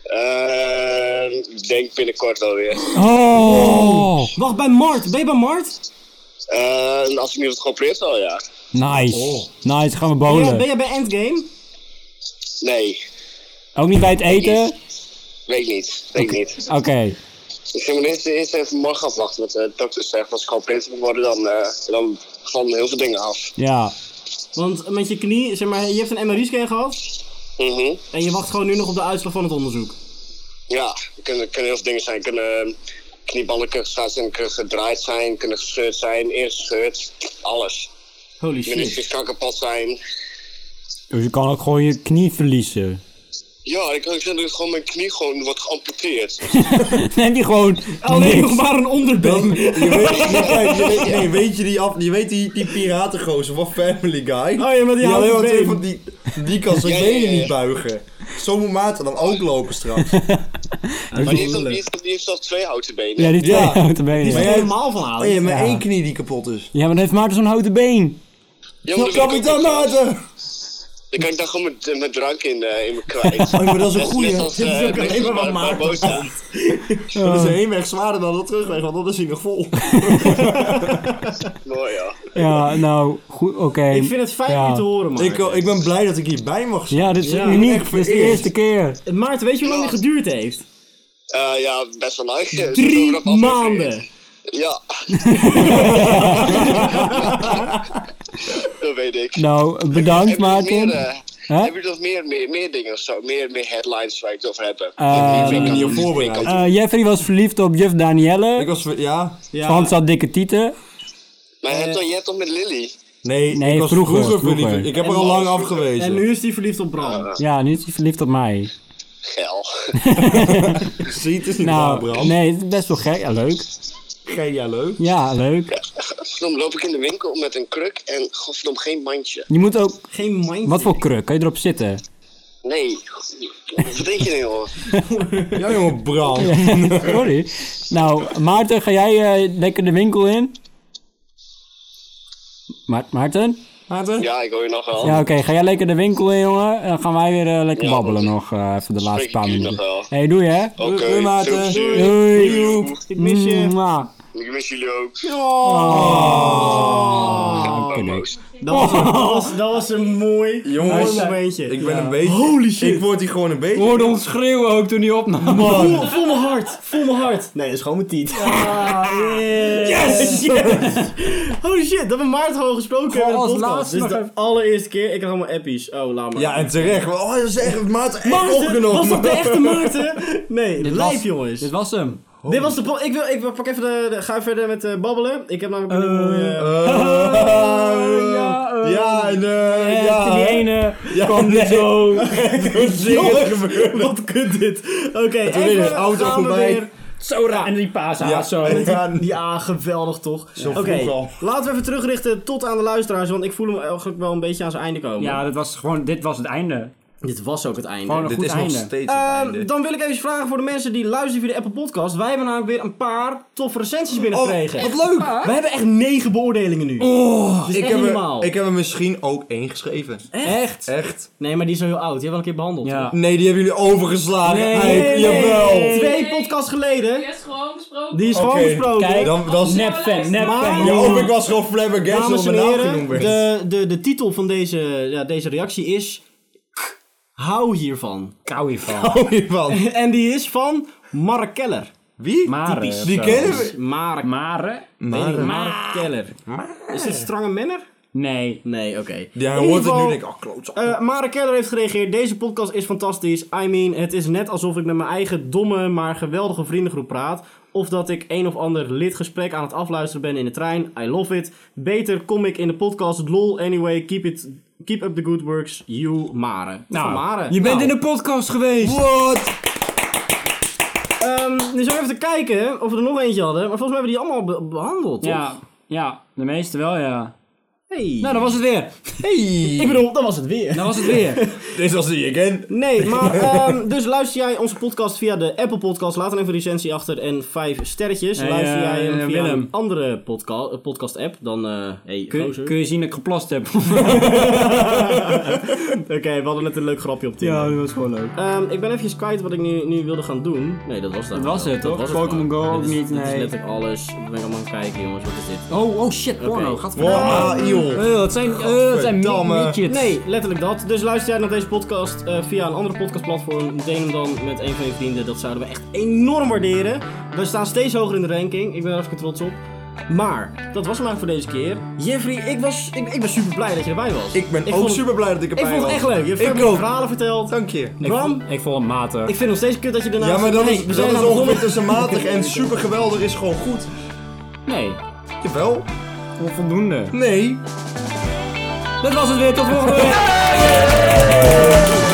G: Eh, ik denk binnenkort alweer.
H: Oh,
B: Wacht, bij Mart. Ben je bij Mart?
G: Eh, als ik nu wat geprobeerd wel, ja.
H: nice.
G: Oh.
H: Nice, gaan we
D: Oh,
B: Ben jij, ben
H: bowlen.
B: jij bij Endgame?
G: Nee,
H: Ook niet bij het eten?
G: weet niet. Weet niet.
H: Oké.
G: Ik ging me eerst, eerst even morgen afwachten met eh, de dokter zegt. Als ik geopereerd moet worden, dan, eh dan vallen heel veel dingen af.
H: Ja.
B: Want met je knie, zeg maar, je hebt een MRI-scan gehad.
G: Mhm.
B: En je wacht gewoon nu nog op de uitslag van het onderzoek.
G: Ja, er kunnen, kunnen heel veel dingen zijn. Er kunnen eh, knieballen kunnen zijn, kunnen gedraaid zijn, kunnen gescheurd zijn, ingescheurd. Alles.
B: Holy shit.
G: Meniscus kan kapot zijn.
H: Dus je kan ook gewoon je knie verliezen.
G: Ja, ik kan zeggen dat gewoon mijn knie gewoon wordt geamputeerd.
H: Dan heb je gewoon
B: Alleen Oh, nog
H: niks.
B: maar een onderbeen.
D: Je weet, je, kijk, je weet, nee, weet je die, af, je weet die, die piratengozer van Family Guy?
B: Oh ja, maar die
D: Die
B: houdt het
D: alleen maar
B: been.
D: twee van die, die kan zijn
G: Ja, ja, ja,
D: benen
G: ja.
D: niet buigen. Zo moet Maarten dan ook lopen straks.
G: Maar die heeft, al- die, heeft, al- die heeft al twee houten benen.
H: Ja, die twee
D: Ja.
H: houten benen.
D: Maar
H: ja.
D: jij-
B: Helemaal van
D: Oh
B: halen.
D: ja, maar één knie die kapot is.
H: Ja, maar dan heeft Maarten zo'n houten been.
G: Ja, maar dan kan ik
D: Kapitein
G: ook-
D: Maarten!
G: Dan kan ik daar gewoon mijn, mijn drank in, eh, in me kwijt.
D: Oh, maar dat is een goeie.
G: Dat is eh, ook alleen maar wat maken.
D: Dat is een heenweg zwaarder dan de terugweg, want dan is hij nog vol.
G: Mooi, ja.
H: Ja, nou, goed, oké.
B: Ik vind het fijn om
H: Ja.
B: je te horen, man.
D: Ik, eh, ik ben blij dat ik hierbij mag zijn.
H: Ja, dit is
B: Ja,
H: uniek.
D: echt
H: Dit is de
D: vereerd.
H: eerste keer.
B: Maarten, weet je hoe lang dit geduurd heeft?
G: Eh, ja, best wel lang. Zullen we
B: Drie
G: dat afleveren?
B: maanden.
G: Ja. dat weet ik.
H: Nou, bedankt
G: Heb je nog
H: Maarten.
G: meer, eh,
H: Hè?
G: Heb je nog meer, meer, meer dingen of zo? Meer, meer headlines waar ik het over heb?
H: Eh,
G: Ik weet
D: ben
G: niet
D: hier
G: of-
D: voorbereid.
G: ik-
H: Eh, Jeffrey was verliefd op juf
D: Ik
H: Danielle.
D: was, ver- ja,
B: Ja.
H: Frans had dikke tieten.
G: Maar je hebt toch- je hebt toch met Lily?
D: nee,
H: Nee,
D: ik was
H: vroeger,
D: vroeger,
H: vroeger.
D: verliefd. Ik heb er al lang afgewezen.
B: En nu is hij verliefd op Bram.
H: Ja, nu is hij verliefd op mij.
G: Gel.
D: Zie, het is niet waar,
H: Nou,
D: Bram.
H: nee, het is best wel gek. Ja, leuk.
D: Geen ja, leuk.
H: Ja, leuk.
G: Godverdomme loop ik in de winkel met een kruk en godverdomme geen mandje.
H: Je moet ook...
B: Geen mindje.
H: Wat voor kruk? Kan je erop zitten?
G: Nee. Wat denk je nou, hoor?
D: Ja, jongen, Bram.
H: Sorry. Nou, Maarten, ga jij eh, lekker de winkel in? Ma- Maarten?
D: Maarten?
G: Ja, ik hoor je nog wel.
H: Ja, oké. Ga jij lekker de winkel in, jongen? En dan gaan wij weer eh, lekker
G: Ja,
H: babbelen
G: dat-
H: nog eh, even de laatste
G: Spreek ik
H: paar
G: jullie
H: minuten.
G: nog
H: hey, doei hè.
G: Oké,
D: Doei, Maarten.
G: doei, doei.
H: Doei.
G: Doei.
B: Ik mis je.
C: Mm.
H: Mwah.
G: Ik mis jullie ook. Boos.
B: Dat was, dat was, dat was een mooi,
D: Jongens,
B: mooi momentje.
D: ik ben een beetje... Holy shit. Ik word hier gewoon een beetje...
C: hoorde ons schreeuwen ook toen hij opnam.
B: Voel, voel mijn hart, voel mijn hart. Nee, dat is gewoon mijn tiet. yes. yes! Holy shit, dat we Maarten gewoon gesproken hebben in de
C: als
B: podcast.
C: laatste
B: Dit is
C: nog
B: de
C: even-
B: allereerste keer. Ik had allemaal appies. Oh, laat maar.
D: Ja, en terecht. Oh, dat is echt Maarten echt
B: Maarten,
D: opgenomen.
B: was dat de echte Maarten? Nee, lijp jongens.
C: Dit was hem.
B: Dit was de... po- Ik, wil, ik pak even de, de- Ga verder met eh, babbelen. Ik heb namelijk een mooie...
D: Eh, ja, en eh, ja.
H: Die ene
D: Ja,
H: kwam
D: nee.
H: niet zo.
B: Jongens, eh, wat kut dit. Oké,
D: weer
B: even
D: een auto
B: gaan we
D: voorbij.
B: weer...
C: Zo raar. En die paashaas
D: Ja,
C: zo.
D: ja,
B: Ja, geweldig toch? Oké,
D: vroeg al.
B: laten we even terugrichten tot aan de luisteraars, want ik voel hem eigenlijk wel een beetje aan zijn einde komen.
C: Ja, dat was gewoon, dit was het einde.
B: Dit was ook het einde.
C: Gewoon een
D: Dit
C: goed
D: is nog
C: einde.
D: steeds
B: Ehm,
D: het einde.
B: dan wil ik even vragen voor de mensen die luisteren via de Apple Podcast. Wij hebben namelijk weer een paar toffe recensies binnengekregen.
D: Oh, wat leuk! Oh,
B: we hebben echt negen beoordelingen nu. Dus
D: Ik
B: echt
D: heb,
B: niet
D: er,
B: normaal.
D: ik heb er misschien ook één geschreven.
B: Echt?
C: Eh,
D: Echt?
B: Nee, maar die is al heel oud. Die hebben we al een keer behandeld.
C: Ja.
D: Nee, die hebben jullie overgeslagen.
C: Nee.
D: Eik,
C: Nee.
D: jawel.
B: Twee
E: Nee.
B: podcasts
E: Die
B: geleden.
E: is gewoon besproken.
B: Die is
D: Oké,
B: gewoon besproken.
C: kijk.
D: Dan, dan,
E: Nee.
C: Nep fan, nep fan.
B: Maar-
D: ja, of ik was gewoon flabbergasted
B: Dames
D: omdat
B: en
D: mijn naam genoemd
B: heren,
D: werd.
B: de, de, de titel van deze, ja, deze reactie is... Hou hiervan.
C: Kou hiervan.
D: Hou je van?
B: En die is van Mark Keller.
D: Wie?
C: Mare. of
D: Die
C: zo.
D: kennen we.
B: Mark,
C: Mare?
B: Mark. Keller. Is dit Strange Manner?
C: Nee.
B: Nee, oké.
D: Ja,
B: In
D: hij hoort
B: ieder
D: het nu
B: geval,
D: en denkt, oh klootzak.
B: eh, Mark Keller heeft gereageerd. Deze podcast is fantastisch. I mean, het is net alsof ik met mijn eigen domme, maar geweldige vriendengroep praat. Of dat ik een of ander lid gesprek aan het afluisteren ben in de trein. I love it. Beter kom ik in de podcast. Lol, anyway, keep it... Keep up the good works, you Mare.
C: Nou,
B: Van Mare.
C: je bent
B: Nou.
C: in de podcast geweest.
D: Wat?
B: Ehm, nu zijn we even te kijken of we er nog eentje hadden. Maar volgens mij hebben we die allemaal be- behandeld, toch?
C: Ja, ja, de meeste wel, ja.
B: Hey.
C: Nou, dat was het weer.
B: ik bedoel, dat was het weer.
C: Dat was het weer.
D: Dit was die again.
B: Nee, maar ehm, dus luister jij onze podcast via de Apple Podcast. Laat dan even een recensie achter en vijf sterretjes.
C: Hey,
B: luister
C: eh,
B: jij hem via
C: Willem.
B: een andere podca- eh, podcast-app, dan... eh hey,
C: Kun,
B: gozer.
C: kun je zien dat ik geplast heb?
B: Oké, we hadden net een leuk grapje op Tinder.
C: dat was gewoon leuk.
B: Ehm, ik ben even kwijt wat ik nu, nu wilde gaan doen. Nee, dat was dat.
C: Dat was het, toch?
B: was
C: Pokémon
B: gewoon.
C: Go
B: Dit
C: ook
B: is-
C: niet,
B: Dit is
C: nee.
B: letterlijk alles. Ik ben allemaal aan het kijken, jongens. Wat is dit?
C: Oh, oh shit, porno.
B: Oké.
C: Gaat
D: Wow, Oh, joh.
C: Eh, dat zijn, eh, dat zijn
D: Godverdamme.
C: midgetjes.
B: Nee, letterlijk dat. Dus luister jij naar deze podcast eh, via een andere podcastplatform. Deel hem dan met een van je vrienden. Dat zouden we echt enorm waarderen. We staan steeds hoger in de ranking. Ik ben er hartstikke trots op. Maar, dat was hem eigenlijk voor deze keer. Jeffrey, ik, was, ik, ik ben super blij dat je erbij was.
D: Ik ben ook
B: vond het-
D: super blij dat ik
B: Ik
D: erbij
B: vond het echt
D: was.
B: leuk. Je hebt
D: Ik
B: veel
D: ook.
B: verhalen verteld.
D: Dank je.
B: Bram,
C: Ik vond hem matig.
B: ik vind nog steeds kut dat je daarna...
D: Ja, maar dat
B: Hey,
D: is,
B: we
D: dat
B: zijn
D: is
B: nou begonnen.
D: ongeveer tussen matig en super geweldig is gewoon goed.
C: Nee,
D: Jawel.
C: voldoende.
D: Nee.
C: Dat was het weer, tot volgende week.